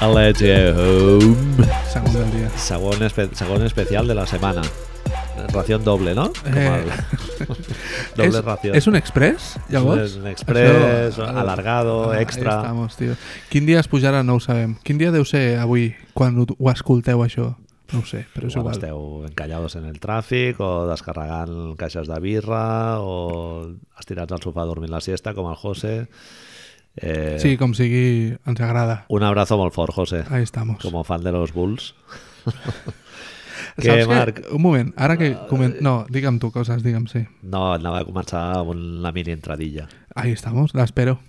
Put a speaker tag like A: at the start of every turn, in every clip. A: a Let You Home.
B: Segon del dia.
A: Segon, espe segon especial de la setmana. Ración doble, no? Com
B: Eh,
A: el... doble
B: és,
A: ració.
B: és un express, llavors?
A: És un express,
B: Això-
A: alargado,
B: Ah,
A: extra.
B: Ahí estamos, tio. Quin dia es pujarà no ho sabem. Quin dia deu ser avui, quan ho, ho escolteu això? No ho sé, però és
A: Igual
B: igual.
A: esteu encallados en el tràfic o descarregant caixes de birra o estirats al sofà dormint la siesta com el José. Eh,
B: Sí, com sigui, ens agrada.
A: Un abrazo molt fort, José,
B: Ahí estamos.
A: com a fan de los Bulls.
B: Saps
A: que, Marc, Ah, eh.
B: Un moment, ara que... Coment... No, digue'm tu coses, digue'm, sí.
A: no, anava a començar amb una mini entradilla.
B: Ahí estamos, l'espero.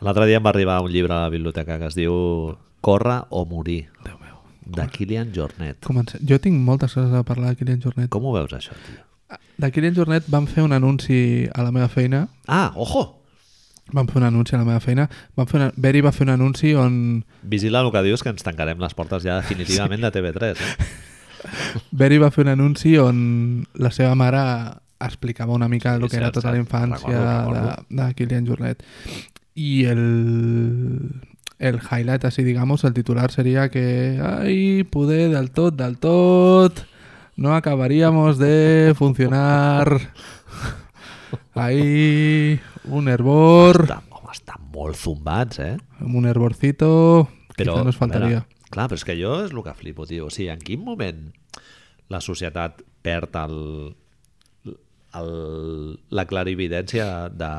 A: L'altre dia em va arribar un llibre a la biblioteca que es diu Corre o morir,
B: Déu meu.
A: de Kilian Jornet.
B: Comença... Jo tinc moltes coses a parlar de Kilian Jornet.
A: Com ho veus, això, tio?
B: De Kilian Jornet van fer un anunci a la meva feina.
A: Ah, ojo!
B: Van fer un anunci a la meva feina. Van fer una... Beri va fer un anunci on...
A: Vigila el que dius, que ens tancarem les portes ja definitivament de TV3, eh?
B: Beri va fer un anunci on la seva mare explicava una mica el
A: Sí,
B: que era
A: cert,
B: tota la
A: cert.
B: infància
A: Recordo,
B: de,
A: recordo.
B: de Kilian Jornet. I el, el highlight, así digamos, el titular sería que ay, pude del tot, del tot, no acabaríamos de funcionar. Ahí, un hervor,
A: Està, home, estan molt zumbats, eh?
B: un hervorcito,
A: Però,
B: quizá
A: a
B: nos
A: veure,
B: faltaría.
A: clar, però és que jo és el que flipo, tio. O sigui, en quin moment la societat perd el, el, la clarividència de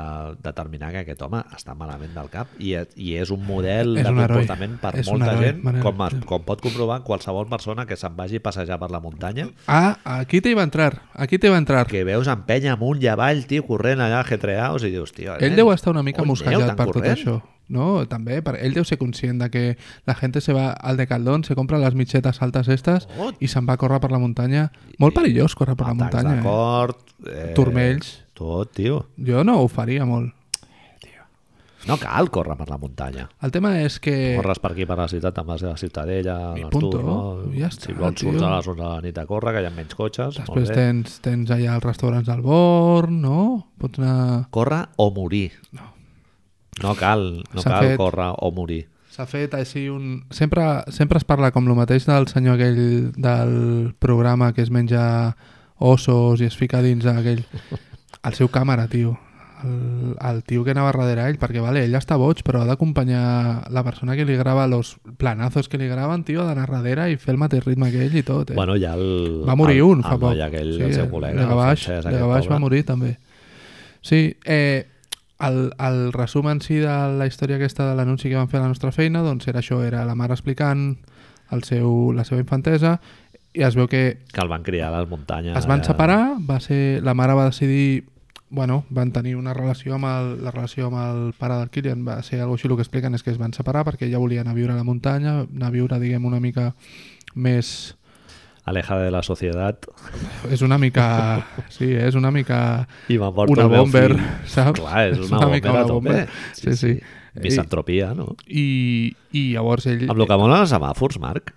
A: determinar que aquest home està malament del cap i, és- i és un model
B: És
A: de
B: un heroi.
A: comportament per
B: És un
A: molta
B: heroi,
A: gent,
B: Manel.
A: com, es, com pot comprovar qualsevol persona que se'n vagi a passejar per la muntanya,
B: Ah, aquí te iba a entrar, aquí te iba a entrar.
A: que veus en penya amunt i avall, tio, corrent allà, getreaus, i dius, tio...
B: Ell
A: nen,
B: deu estar una mica
A: on aneu
B: mosquejat
A: tan
B: per tot
A: corrent?
B: això, no? També, per... ell deu ser conscient de que la gent se va al Decathlon, se compra les mitxetes altes estes
A: Oh.
B: i se'n va a córrer per la muntanya. Molt perillós córrer per la
A: Atacs de
B: muntanya. Eh?
A: cort, eh,
B: Turmells.
A: Tot, tio.
B: Jo no ho faria molt.
A: No cal córrer per la muntanya.
B: El tema és que...
A: Corres per aquí, per la ciutat, amb la Ciutadella,
B: I
A: l'Artur,
B: Eh. punto.
A: no?
B: Ja està,
A: si vols,
B: tio.
A: surts a les 11 de la nit a córrer, que hi ha menys cotxes.
B: Després
A: molt bé.
B: tens, tens allà els restaurants del Born, no? Pots anar...
A: Córrer o morir. No, cal, no
B: S'ha
A: cal
B: fet-
A: córrer o morir.
B: S'ha fet així un... Sempre, sempre es parla com el mateix del senyor aquell del programa que es menja ossos i es fica dins aquell... El seu càmera, tio. El, el tio que anava darrere ell, perquè vale, ell està boig, però ha d'acompanyar la persona que li grava, los planazos que li graven, tio, ha d'anar darrere i fer el mateix ritme que ell i tot, eh?
A: Bueno, ja el...
B: va morir
A: el,
B: un fa
A: el
B: poc.
A: Noi aquell, sí, el seu col·lega,
B: de Gabaix,
A: el francès,
B: de
A: aquest
B: Gabaix va
A: pobre.
B: morir també. Sí, eh, el, el resum en si de la història aquesta de l'anunci que van fer a la nostra feina, doncs era això, era la mare explicant el seu, la seva infantesa i es veu que
A: Que el van criar a les muntanyes. eh,
B: es van
A: allà.
B: separar, va ser, la mare va decidir bueno, van tenir una relació amb el, la relació amb el pare del Kilian va ser algo així, el que expliquen és que es van separar perquè ella volia anar a viure a la muntanya anar a viure, diguem, una mica més
A: Alejada de la societat.
B: és una mica... Sí, és una mica...
A: I van portar
B: Una
A: el meu
B: bomber,
A: fill.
B: saps?
A: Clar, és
B: És
A: una,
B: una mica
A: bomber a
B: una
A: tope.
B: bomber. Sí, sí.
A: Misantropia, no?
B: I, i llavors ell...
A: Amb el que molen els semàfors, Marc.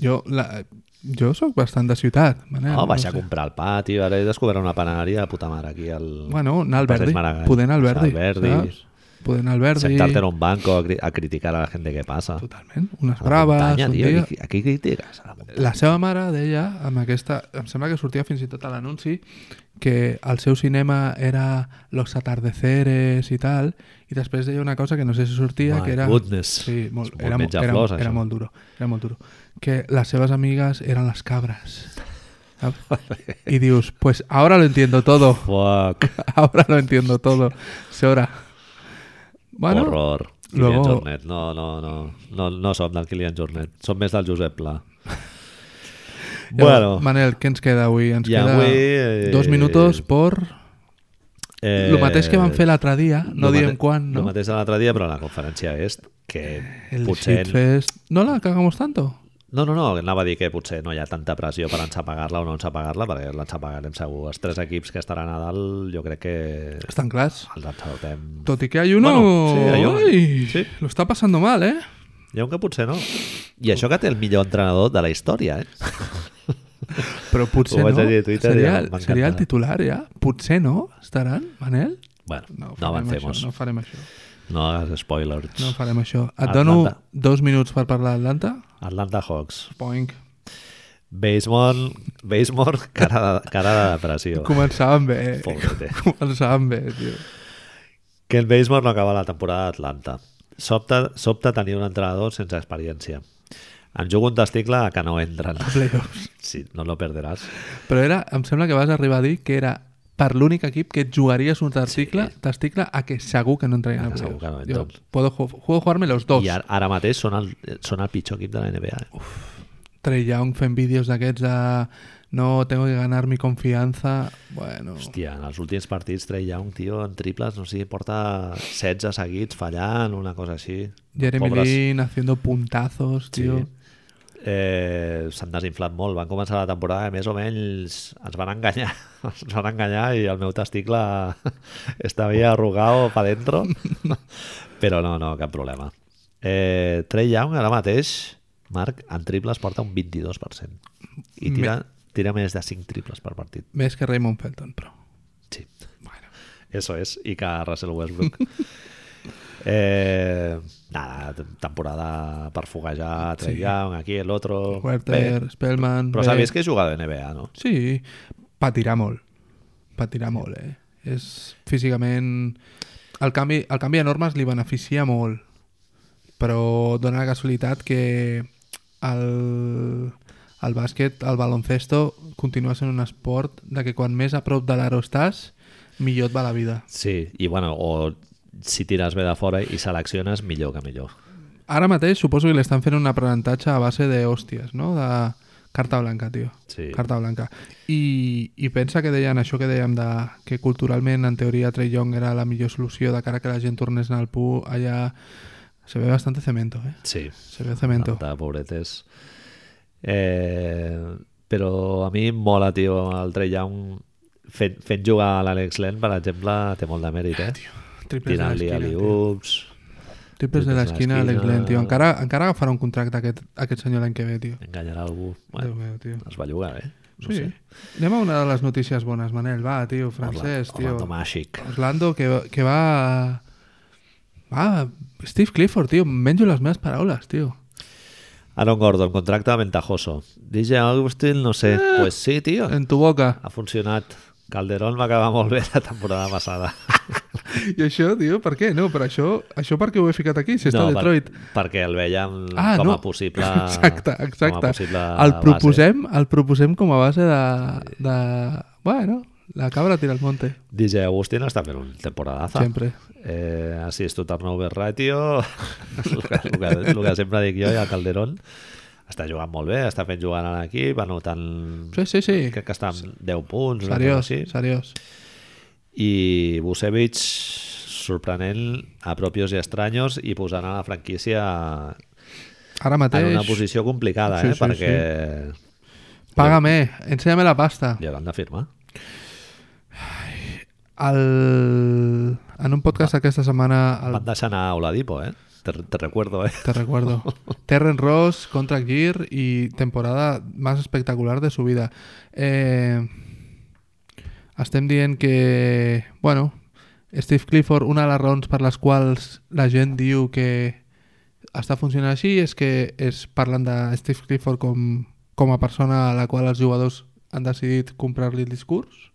B: Jo, la, jo sóc bastant de ciutat, Manel.
A: Oh, vaig a
B: sé.
A: comprar el pati, ara he descobert una panaderia de puta mare aquí al...
B: Bueno, anar al
A: Passeig
B: Verdi.
A: Maragall.
B: Poder anar al Verdi.
A: Al Verdi.
B: saps? Poder anar al Verdi.
A: Sentarte en un banco a, cri- a criticar a la gente que pasa.
B: Totalment. Unes
A: A la
B: braves,
A: muntanya,
B: un
A: tio,
B: dia...
A: aquí- Aquí criticas a la muntanya.
B: La seva mare deia, amb aquesta... Em sembla que sortia fins i tot a l'anunci, que el seu cinema era Los atardeceres i tal, i després deia una cosa que no sé si sortia,
A: My
B: que era...
A: goodness.
B: Sí, molt,
A: És molt
B: era, mo- era,
A: menjaflors,
B: era
A: això.
B: molt duro, era molt duro. Que les seves amigues eren les cabres. saps? I dius, pues ahora lo entiendo todo,
A: Fuck.
B: ahora lo entiendo todo, señora. Bueno,
A: Horror. Kilian
B: luego-
A: Jornet. No, no, no. No, no som del Kilian Jornet. Som més del Josep Pla.
B: llavors,
A: bueno,
B: Manel, què ens queda avui? Ens
A: I
B: queda
A: avui, eh,
B: dos minutos por...
A: eh,
B: Lo mateix que van fer l'altre dia, no
A: lo mate-
B: diem quan, no?
A: Lo mateix de l'altre dia, però la conferència est, que
B: El
A: potser...
B: shitfest. No la cagamos tanto.
A: No, no, no, anava a dir que potser no hi ha tanta pressió per ensapegar-la o no ensapegar-la, perquè l'ensapegarem segur. Els tres equips que estaran a dalt, jo crec que
B: Están claras.
A: els ensapeguem.
B: Tot y que hay uno...
A: Bueno, sí, hay uno.
B: Ay,
A: Sí.
B: Lo está pasando mal, ¿eh?
A: Hi ha un que potser no. I això que té el millor entrenador de la història, eh?
B: Pero potser
A: Ho
B: no.
A: vaig llegir a Twitter i
B: seria,
A: m'encanta.
B: seria el titular, ja. Potser no estaran, Manel?
A: Bueno, no,
B: farem
A: avancemos.
B: Això, no farem això.
A: No hagas spoilers.
B: No farem això. Et
A: Atlanta.
B: dono dos minuts per parlar d'Atlanta.
A: Atlanta Hawks.
B: Poink.
A: Basemore, Basemore cara, de, cara de depressió.
B: Començàvem bé.
A: Pobrete.
B: Començàvem bé, tio.
A: Que el Basemore no acaba la temporada d'Atlanta. Sobta, sobta tenir un entrenador sense experiència. Em jugo un testicle a que no entren.
B: A playoffs.
A: Sí, no lo perderàs.
B: Però era, em sembla que vas arribar a dir que era per l'únic equip que et jugaries un testicle, testicle a que segur que no entraria a
A: A que Ah, segur
B: playoffs.
A: que no
B: Jo
A: entren.
B: puedo, ju- puedo jugarme los dos.
A: I ara, ara mateix són el, són el pitjor equip de la NBA. Eh?
B: Trey Young fent vídeos d'aquests de no, tengo que ganar mi confianza. Bueno,
A: Hòstia, en els últims partits Trey Young, tio, en triples, no sé, porta 16 seguits fallant, una cosa així.
B: Jeremy
A: Pobres.
B: Lin haciendo puntazos, tío.
A: Eh, S'han desinflat molt. Van començar la temporada que més o menys ens van enganyar. Ens van enganyar i el meu testicle estava arrugat pa dentro. Però no, no, cap problema. Eh, Trey Young ara mateix, Marc, en triples porta un 22%. I tira, tira més de 5 triples per partit.
B: Més que Raymond Felton, però.
A: Sí.
B: Bueno.
A: Eso es, y que Russell Westbrook. eh, nada, t- temporada per foguejar, Trey
B: Sí.
A: Young, aquí, el otro...
B: Werther,
A: Bé,
B: Spellman...
A: però
B: bé.
A: sabies que he jugat en NBA, no?
B: Sí, patirà molt. Patirà molt, eh? És físicament... El canvi, el canvi de normes li beneficia molt, però dona la casualitat que el, el bàsquet, el baloncesto, continua sent un esport de que quan més a prop de l'aro estàs, millor et va la vida.
A: Sí, i bueno, o si tires bé de fora i selecciones, millor que millor.
B: Ara mateix suposo que li estan fent un aprenentatge a base de hòsties, no? De carta blanca, tio.
A: Sí.
B: Carta blanca. I, I pensa que deien això que dèiem de, que culturalment, en teoria, Trey Young era la millor solució de cara a que la gent tornés al pu allà... Se ve bastante cemento, eh?
A: Sí,
B: Se ve cemento.
A: de pobretes. Eh, però a mi em mola, tio, el Trey Young fent, fent jugar a l'Alex Len, per exemple, té molt de mèrit,
B: Ah,
A: eh?
B: Triples de
A: Tirant-li
B: l'esquina. tio.
A: ali-ups...
B: eh? Triples de l'esquina, Alex Len, tio. Encara, encara agafarà un contracte aquest, aquest senyor l'any que ve, tio.
A: enganyarà algú.
B: Déu
A: Bueno,
B: meu, tio.
A: es va llogar, eh? No
B: Sí.
A: sé.
B: Anem a una de les notícies bones, Manel. Va, tio, francès,
A: Orla- Orlando
B: tio.
A: Magic.
B: Orlando, que, que va... Va, Steve Clifford, tio, em menjo les meves paraules, tio.
A: Aaron Gordon, contracte ventajoso. DJ Augustin, no sé.
B: Ah.
A: Pues sí, tio.
B: En tu boca.
A: Ha funcionat. Calderón va acabar molt bé la temporada passada.
B: I això, tio, per què? No, però això, això per què ho he ficat aquí, si està
A: No,
B: a
A: per-
B: Detroit?
A: perquè el veiem
B: Ah,
A: com a
B: no.
A: possible...
B: Exacte,
A: Com
B: exacte.
A: a possible
B: El
A: base.
B: proposem, el proposem com a base de... de... Bueno, la cabra tira al monte,
A: DJ Agustín està fent un temporadaza.
B: sempre.
A: Eh, assist to turnover ratio, el que, el, que, el que sempre dic jo, i el Calderón està jugant molt bé, està fent jugant a l'equip, anotant
B: Sí, sí, sí.
A: crec que està amb 10 punts una cosa
B: Seriós,
A: així.
B: seriós.
A: i Busevich sorprenent a propios i estranyos i posant a la franquícia
B: Ara
A: en una
B: mateix,
A: posició complicada
B: Sí,
A: eh?
B: sí,
A: perquè
B: paga-me, ensenya'm la pasta.
A: li hauran de firmar
B: El... En un podcast aquesta setmana el
A: van deixar anar a Oladipo eh? te, te recuerdo eh?
B: Te recuerdo. Terren Ross, Contract Gear y temporada más espectacular de su vida. Eh, estem dient que, bueno, Steve Clifford, una de les raons per les quals la gent diu que està funcionant així és que és parlant de Steve Clifford com, com a persona a la qual els jugadors han decidit comprar-li el discurs.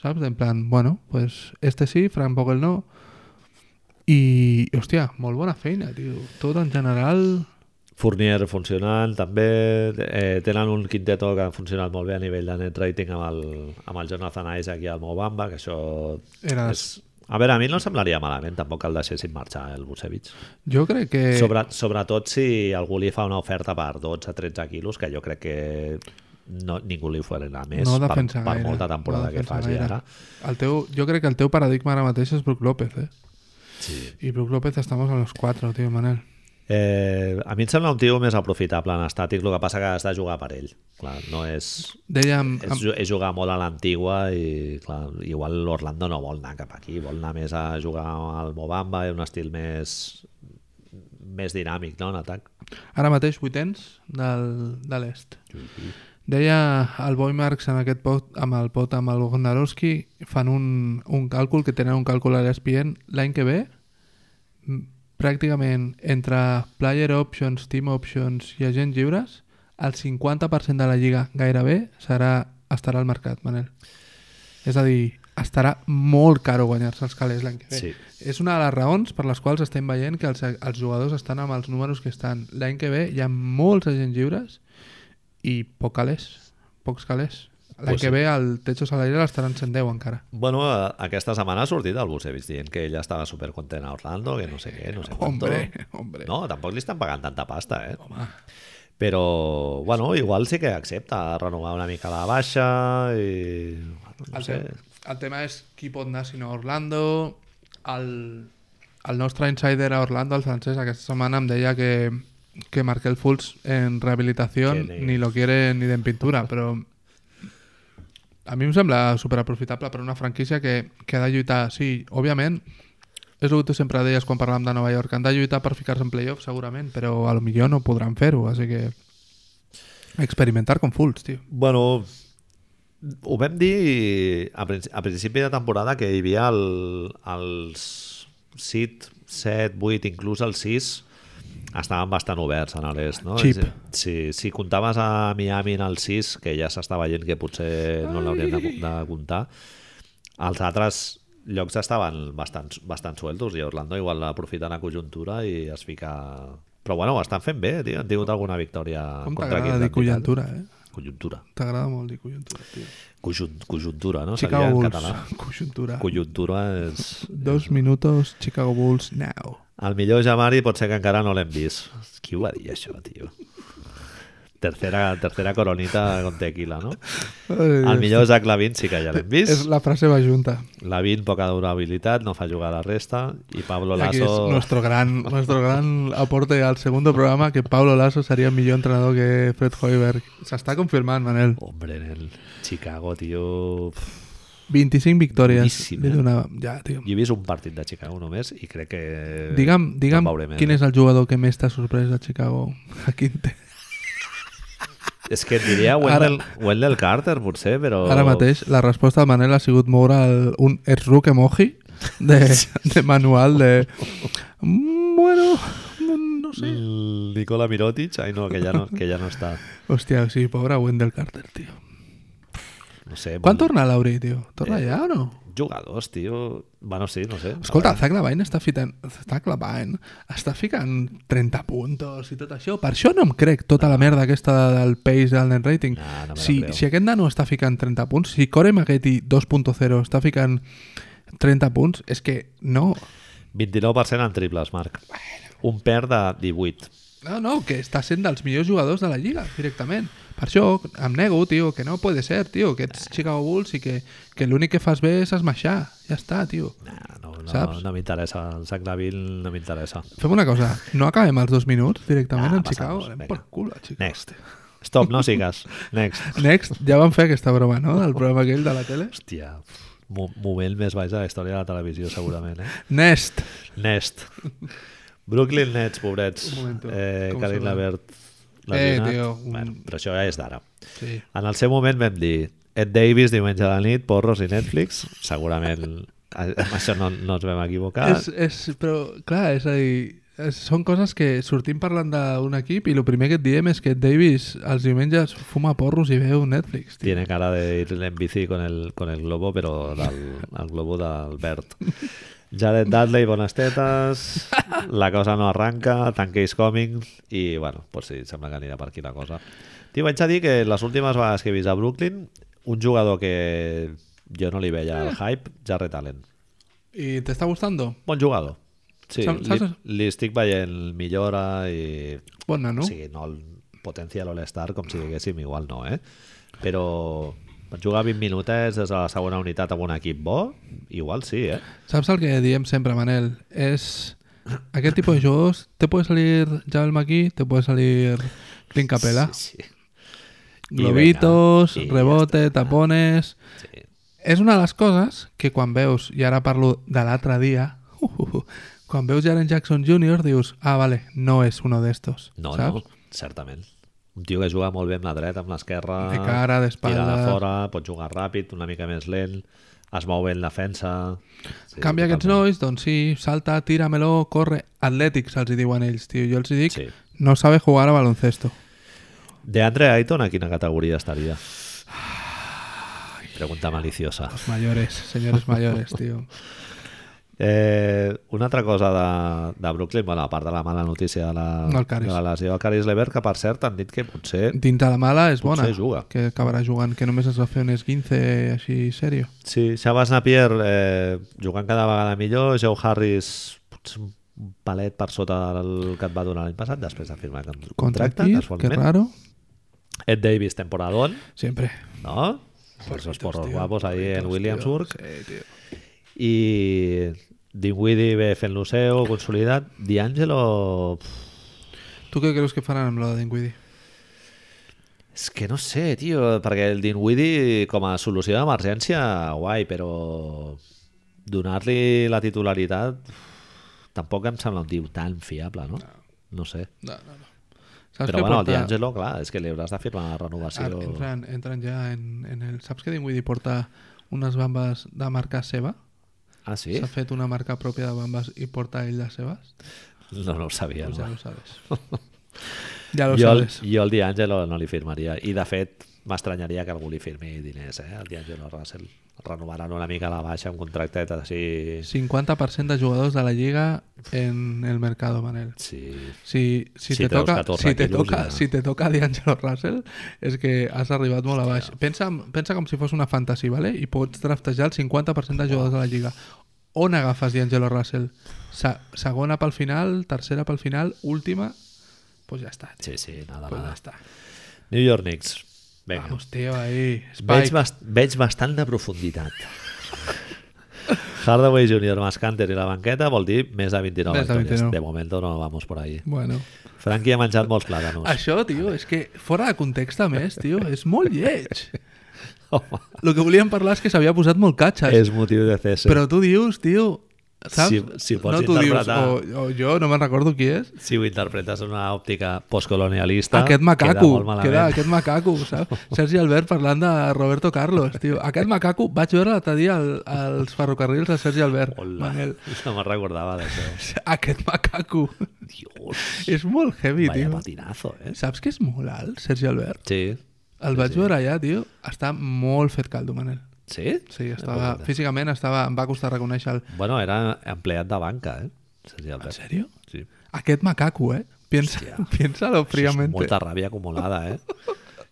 B: Saps? En plan, bueno, pues este sí, Frank Vogel no. I, hòstia, molt bona feina, tio. Tot en general...
A: Fournier funcionant també eh, tenen un quinteto que ha funcionat molt bé a nivell de net rating amb el, amb el Jonathan Isaac i el Mobamba que això
B: Era...
A: és... a veure, a mi no em semblaria malament tampoc que el deixessin marxar el Busevich
B: Jo crec que...
A: Sobre, sobretot si algú li fa una oferta per 12-13 quilos, que jo crec que no, ningú li oferirà més
B: no
A: per,
B: defensa
A: per
B: gaire.
A: molta temporada
B: no
A: que
B: defensa
A: faci
B: gaire.
A: ara.
B: El teu, jo crec que el teu paradigma ara mateix és Brook López, eh?
A: Sí.
B: I Brook López estamos a los cuatro, tio, Manel.
A: Eh, a mi em sembla un tio més aprofitable en estàtic, el que passa que has de jugar per ell. Clar, no és,
B: Dèiem...
A: és,
B: amb-
A: ju- és jugar molt a l'antigua i clar, igual l'Orlando no vol anar cap aquí, vol anar més a jugar al Mobamba, un estil més més dinàmic, no?, en atac.
B: Ara mateix vuitens del, de l'est. Deia el Boi Marx en aquest pot, amb el pot amb el Gondarowski, fan un, un càlcul, que tenen un càlcul a l'ESPN l'any que ve, pràcticament entre player options, team options i agents lliures, el 50% de la lliga gairebé serà, estarà al mercat, Manel. És a dir, estarà molt caro guanyar-se els calés l'any que ve.
A: Sí.
B: És una de les raons per les quals estem veient que els, els jugadors estan amb els números que estan. L'any que ve hi ha molts agents lliures i poc calés, pocs calés. L'any
A: Pues
B: que
A: sí.
B: ve el techo salarial estarà en 110 encara.
A: Bueno, a- aquesta setmana ha sortit el Busevich dient que ella estava supercontent a Orlando, que no sé què, no sé quanto.
B: Hombre, hombre.
A: No, tampoc li estan pagant tanta pasta, eh? Home. Però, bueno, igual sí que accepta renovar una mica la baixa i... Bueno, no
B: El,
A: sé.
B: te el tema és qui pot anar sinó a Orlando. El, el nostre insider a Orlando, el francès, aquesta setmana em deia que, que Markel Fultz en rehabilitació
A: Que ni-
B: ni lo quiere ni de pintura, però a mi em sembla superaprofitable per una franquícia que, que ha de lluitar. Sí, òbviament, és el que tu sempre deies quan parlàvem de Nova York, han de lluitar per ficar-se en playoff segurament, però a lo millor no podran fer-ho, així que experimentar com Fultz, tio.
A: Bueno, ho vam dir a, princi a principi de temporada que hi havia el, els 7, 7, 8, inclús el 6 estaven bastant oberts en l'est, no? És
B: Cheap.
A: a dir, Si, si comptaves a Miami en el 6, que ja s'està veient que potser no l'haurien de, de comptar, els altres llocs estaven bastant, bastant sueltos i Orlando igual aprofita la conjuntura i es fica... Però bueno, ho estan fent bé, tio. Han tingut alguna victòria
B: Com
A: contra
B: t'agrada dir
A: Cleveland i tal.
B: conjuntura, eh?
A: Conjuntura.
B: T'agrada molt dir conjuntura, tio.
A: Conjun- Conjuntura, no? Seria
B: Chicago
A: en
B: Bulls,
A: català.
B: conjuntura.
A: Conjuntura és...
B: Dos minutos, Chicago Bulls, now.
A: El millor Jamari pot ser que encara no l'hem vist. Qui ho va dir, això, tio? Tercera, tercera coronita con tequila, no? El millor Zach Lavin sí que ja l'hem
B: És
A: vist.
B: la frase va junta.
A: Lavin, poca durabilitat, no fa jugar la resta. I Pablo
B: Aquí es
A: Lasso...
B: nuestro gran, nuestro gran aporte al segundo programa que Pablo Lasso sería el millor entrenador que Fred Hoiberg. S'està confirmant, Manel.
A: Hombre, en el Chicago, tio... Pff,
B: 25 victòries.
A: Boníssim,
B: li
A: eh?
B: donava. Ja, tio.
A: Jo he vist un partit de Chicago només i crec que...
B: Digue'm, digue'm
A: no veuré més.
B: quin és el jugador que més t'ha sorprès de Chicago. A quin te...
A: És que et diria Wendell, Wendell Carter, potser, però...
B: Ara mateix la resposta de Manel ha sigut moure el, un erruc emoji de, de manual de... Mm, Bueno, no sé.
A: El Nicola Mirotic, ai no, que ja no, que ja no està.
B: Hòstia, sí, pobre Wendell Carter, tio.
A: No sé.
B: Quan
A: molt-
B: torna l'Auri, tio? Torna
A: Eh.
B: ja o no?
A: Jugadors, tio. Bueno, sí, no sé.
B: Escolta,
A: A veure,
B: Zach Lavine està, fitant, està clavant, està ficant 30 puntos i tot això. Per això no em crec tota la merda aquesta del pace del net rating.
A: Ah. No, no me la
B: si,
A: creo.
B: si aquest nano està ficant 30 punts, si Corey Maggetti 2.0 està ficant 30 punts, és que no,
A: Eh, 29% en triples, Marc. Un per de 18.
B: No, no, que està sent dels millors jugadors de la Lliga, directament. Per això em nego, tio, que no puede ser, tio, que ets Chicago Bulls i que, que l'únic que fas bé és esmaixar. Ja està, tio.
A: Nah, no, no,
B: Saps?
A: no m'interessa. El Zach Lavin no m'interessa.
B: Fem una cosa, no acabem els dos minuts
A: Ah,
B: directament ah, amb Chicago?
A: passamos,
B: Anem
A: vinga.
B: per cul a Chicago.
A: Next. Stop, no sigues. Next.
B: Next, ja van fer aquesta broma, no?, del programa aquell de la tele.
A: Hòstia, pf, mo- moment més baix de la història de la televisió, segurament, eh?
B: Next.
A: Next. Brooklyn Nets, pobrets.
B: Un momento.
A: Eh,
B: Com
A: Karim
B: sona?
A: Levert.
B: Eh,
A: lesionat.
B: tio, un-
A: Bueno, però això ja és d'ara.
B: Sí.
A: En el seu moment vam dir Ed Davis diumenge a la nit, porros i Netflix. Segurament a- amb això no, no ens vam equivocar.
B: És, és, però, clar, és a dir, és, són coses que sortim parlant d'un equip i el primer que et diem és que Davis els diumenges fuma porros i veu Netflix, tio.
A: Tiene cara de ir en bici con el, con el globo, però del, el globo d'Albert. Jared Dudley, bones tetes, la cosa no arranca, tanque is coming, i bueno, pues sí, sembla que anirà per aquí la cosa. T'hi vaig a dir que les últimes vegades que he vist a Brooklyn, un jugador que jo no li veia el hype, Jared Allen.
B: I t'està gustando?
A: Bon jugador. Sí,
B: Saps-
A: li,
B: saps-
A: li estic veient millora i...
B: Bon nano.
A: No? O sigui, no el potencia l'All-Star com si diguéssim, igual no, eh? Però per jugar 20 minutets des de la segona unitat amb un equip bo, igual sí, eh?
B: Saps el que diem sempre, Manel? És aquest tipus de jugadors, te puede salir Javel Maquí, te puede salir Clint Capela.
A: Sí, sí.
B: Globitos,
A: I venga, i
B: rebote, tapones...
A: sí.
B: És una de les coses que quan veus, i ara parlo de l'altre dia, uh, uh, uh, quan veus Jaren Jackson Jr. dius, ah, vale, no és uno d'estos,
A: No,
B: saps?
A: no, certament. Un tio que juga molt bé amb la dreta, amb l'esquerra...
B: De cara, d'espatlla.
A: Tira de fora, pot jugar ràpid, una mica més lent. es mou bé en defensa... Sí,
B: Canvia aquests
A: totalment.
B: nois, doncs sí, salta, tira, meló, corre... Atlètics els hi diuen ells, tio. Jo els hi dic,
A: Sí.
B: no sabe jugar a baloncesto.
A: De Andre Ayton a quina categoria estaria? Pregunta maliciosa.
B: Los mayores, señores mayores, tio.
A: Eh, una altra cosa de, de Brooklyn, bueno, a part de la mala notícia de la,
B: Del
A: de
B: Caris.
A: la lesió del Caris Levert, que per cert han dit que potser
B: Dins de la mala és bona,
A: Potser juga.
B: que acabarà jugant, que només es va fer un esguince així serio.
A: sí, Shabazz Napier eh, jugant cada vegada millor, Joe Harris potser un palet per sota del que et va donar l'any passat després de firmar el
B: Contra
A: contracte,
B: Kir, que
A: casualment.
B: raro.
A: Ed Davis, temporadón,
B: Siempre.
A: no? Per esos porros guapos ahí en Williamsburg.
B: Sí, tio.
A: i Dinwiddie ve fent lo seu, consolidat D'Angelo pf,
B: Tu què creus que faran amb la de Dinwiddie?
A: és que no sé, tio perquè el Dinwiddie com a solució d'emergència guai, però donar-li la titularitat pf, tampoc em sembla un tio tan fiable, no? No sé.
B: No, no, no. Saps
A: Però
B: què
A: bueno, el
B: porta?
A: D'Angelo, clar, és que li hauràs de firmar la
B: Ah,
A: renovació.
B: entren, entren ja en, en el... Saps que Dinwiddie porta unes bambes de marca seva?
A: Ah, sí?
B: S'ha fet una marca pròpia de bambes i porta ell les seves?
A: No, no ho sabia.
B: Pues ja
A: No.
B: ho sabes. ja ho
A: Jo, el-
B: sabes.
A: jo el D'Angelo no li firmaria. I, de fet, m'estranyaria que algú li firmi diners, eh? El D'Angelo Russell. Renovaran una mica la baixa amb contractet així...
B: 50% de jugadors de la lliga en el mercado, Manel.
A: Sí.
B: Si, si,
A: Si
B: te
A: treus
B: toca,
A: 14
B: si te
A: quilos,
B: toca,
A: ja.
B: si te toca D'Angelo Russell, és que has arribat molt a baix. Pensa, en- pensa com si fos una fantasy, vale? i pots draftejar el 50% de jugadors de la Lliga. On agafes D'Angelo Russell? Se segona pel final, tercera pel final, última... Pues ja està. tio.
A: Sí, sí, nada,
B: Pues ja
A: nada.
B: està.
A: New York Knicks. Vinga.
B: Vamos, tio, ahí.
A: Veig,
B: Spike.
A: bast veig bastant de profunditat. Hardaway Jr., Mascanter i la banqueta vol dir més de 29
B: Més de
A: victòries.
B: 29.
A: De moment no vamos por ahí.
B: Bueno.
A: Frankie ha menjat molts plàtanos.
B: Això, tio, és que fora de context, a més, tio, és molt lleig.
A: Home,
B: El que volíem parlar és que s'havia posat molt catxes.
A: és motiu de CS.
B: Però tu dius, tio, saps?
A: Si- si ho pots
B: no tu
A: interpretar.
B: Dius, o, o jo no me'n recordo qui és.
A: Si ho interpretes en una òptica postcolonialista...
B: Ta, aquest
A: Queda,
B: macaco,
A: molt
B: queda,
A: malament.
B: queda aquest macaco, saps? Sergi Albert parlant de Roberto Carlos, tio. Aquest macaco vaig veure l'altre dia al, als ferrocarrils de Sergi Albert.
A: Hola.
B: Manel.
A: No me'n recordava d'això.
B: Aquest macaco.
A: Dios,
B: És molt heavy,
A: vaya
B: tio.
A: patinazo, eh?
B: Saps que és molt alt, Sergi Albert?
A: Sí.
B: El vaig veure allà, tio. Està molt fet caldo, Manel.
A: Sí?
B: Sí, estava, físicament estava, em va costar reconèixer el...
A: Bueno, era empleat de banca, eh? Sergi
B: En
A: Albert.
B: sèrio?
A: Sí.
B: Aquest macaco, eh? Piensa, piénsalo
A: És
B: fríamente.
A: molta ràbia acumulada, eh?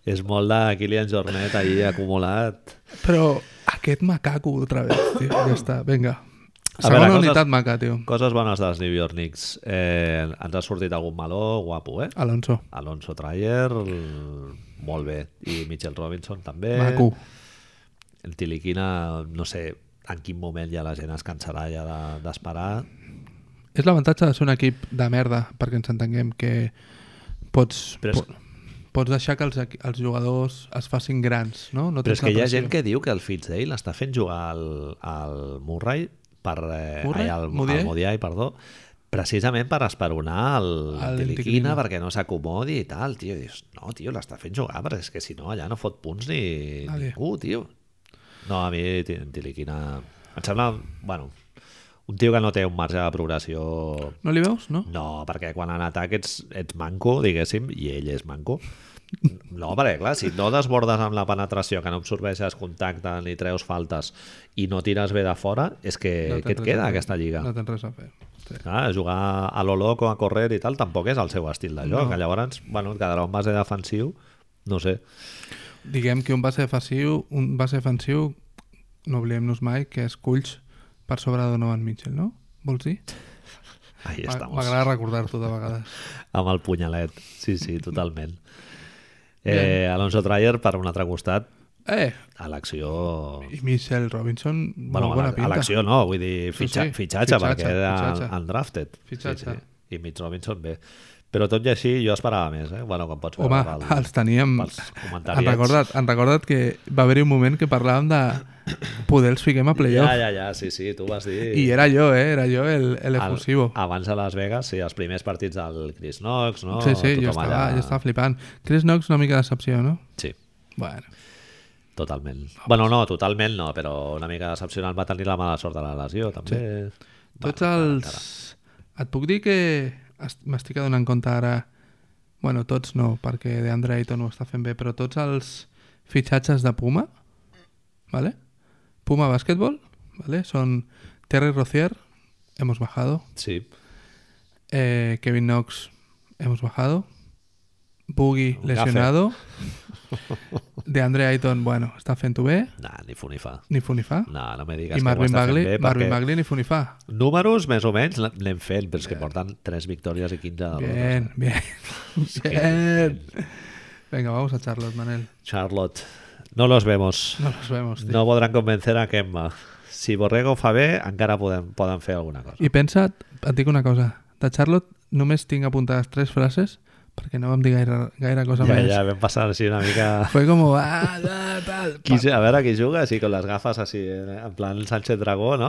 A: És molt de Kilian Jornet ahir acumulat.
B: Però aquest macaco otra vez, tio. Ja està, vinga.
A: A
B: Segona
A: veure,
B: unitat
A: coses-
B: maca, tio.
A: Coses bones dels New York Knicks. Eh, ens ha sortit algun meló guapo, eh?
B: Alonso.
A: Alonso Trayer, el- molt bé. I Mitchell Robinson també.
B: Maco.
A: El Tiliquina, no sé en quin moment ja la gent es cansarà ja de- d'esperar. De,
B: És l'avantatge de ser un equip de merda, perquè ens entenguem que pots...
A: Però és-
B: po- pots deixar que els, equi- els jugadors es facin grans, no? no
A: Però és
B: tens la
A: que hi ha
B: pressió.
A: gent que diu que el Fitzdale està fent jugar al, al Murray per... Eh,
B: Murray?
A: ai, Al,
B: Modiai?
A: al Modiai, perdó. Precisament per esperonar el,
B: Al
A: el Tiliquina
B: Tiliquina.
A: perquè no s'acomodi i tal, tio. Dius, no, tio, l'està fent jugar, perquè és que si no allà no fot punts ni
B: Nadie.
A: ningú, tio. No, a mi Ti- Tiliquina... Em sembla, bueno, un tio que no té un marge de progressió
B: No li veus, no?
A: no, perquè quan en atac ets, ets manco, diguéssim, i ell és manco. No, perquè clar, si no desbordes amb la penetració, que no absorbeixes contacte ni treus faltes i no tires bé de fora, és Eh, que no
B: no tens
A: què et
B: res
A: queda
B: a fer.
A: aquesta lliga?
B: No
A: No
B: tens res a fer. Sí.
A: Clar, jugar a lo loco, a correr i tal, tampoc és el seu estil de joc.
B: No.
A: No. Llavors, bueno, et quedarà un base defensiu, no sé.
B: Diguem que un base defensiu, un base defensiu no oblidem-nos mai, que és Culls per sobre de Donovan Mitchell, no? Vols dir?
A: Ahí
B: M'a-
A: estamos,
B: M'agrada recordar-t'ho de vegades.
A: amb el punyalet. Sí, sí, totalment. Eh, Alonso Trayer, per un altre costat,
B: Eh,
A: a l'acció
B: I Michelle Robinson,
A: Bueno, a
B: molt
A: la-
B: bona
A: a
B: pinta.
A: l'acció no, vull dir, fitxa,
B: sí,
A: sí, sí. fitxatge,
B: fitxatge,
A: perquè era
B: fitxatge.
A: undrafted.
B: Fitxatge.
A: Sí, sí. I Mitch Robinson bé. Però tot i així jo esperava més, eh? Bueno, com pots veure
B: Home,
A: pel-
B: els teníem...
A: pels
B: Han
A: comentaris.
B: recordat, han recordat que va haver-hi un moment que parlàvem de poder els fiquem a
A: Ja,
B: playoff.
A: ja, ja, sí, sí, tu vas dir...
B: I era jo, eh? Era jo el, el
A: Al-
B: efusivo.
A: Abans a Las Vegas, sí, els primers partits del Chris Knox, no?
B: sí, sí, jo
A: Tothom
B: estava,
A: allà-
B: jo estava flipant. Chris Knox, una mica decepció, no?
A: Sí.
B: Bueno.
A: Totalment. Bueno, no, totalment no, però una mica decepcionant va tenir la mala sort de la lesió, també. Sí.
B: Tots els... Et puc dir que est- m'estic adonant compte ara... Bueno, tots no, perquè DeAndre Ayton ho està fent bé, però tots els fitxatges de Puma, ¿vale? Puma Basketball, ¿vale? Són Terry Rozier, hemos bajado,
A: Sí,
B: eh, Kevin Knox, hemos bajado, Boogie,
A: Un
B: lesionado, DeAndre Ayton, bueno, està fent-ho bé,
A: nah, ni fu ni fa.
B: ni fu ni fa,
A: No, no me digues
B: i
A: que ho
B: Marvin
A: està
B: Bagley,
A: fent bé,
B: Marvin
A: perquè
B: Bagley ni fu ni fa.
A: números més o menys l'han- l'hem fet, però és que porten 3 victòries i 15 derrotes.
B: Bien, bien, bien. Venga, vamos a Charlotte, Manel.
A: Charlotte, no los vemos.
B: No nos vemos, tío.
A: No podran convencer a Kemba. Si Borrego fa bé, encara poden, poden fer alguna cosa.
B: I pensa, et dic una cosa, de Charlotte només tinc apuntades tres frases perquè no vam dir gaire, gaire cosa
A: Ja,
B: més.
A: ja vam passar així una mica...
B: Fue como, ah, da, tal,
A: Qui, a veure qui juga, així, con les gafes, així, en plan Sánchez Dragó, no?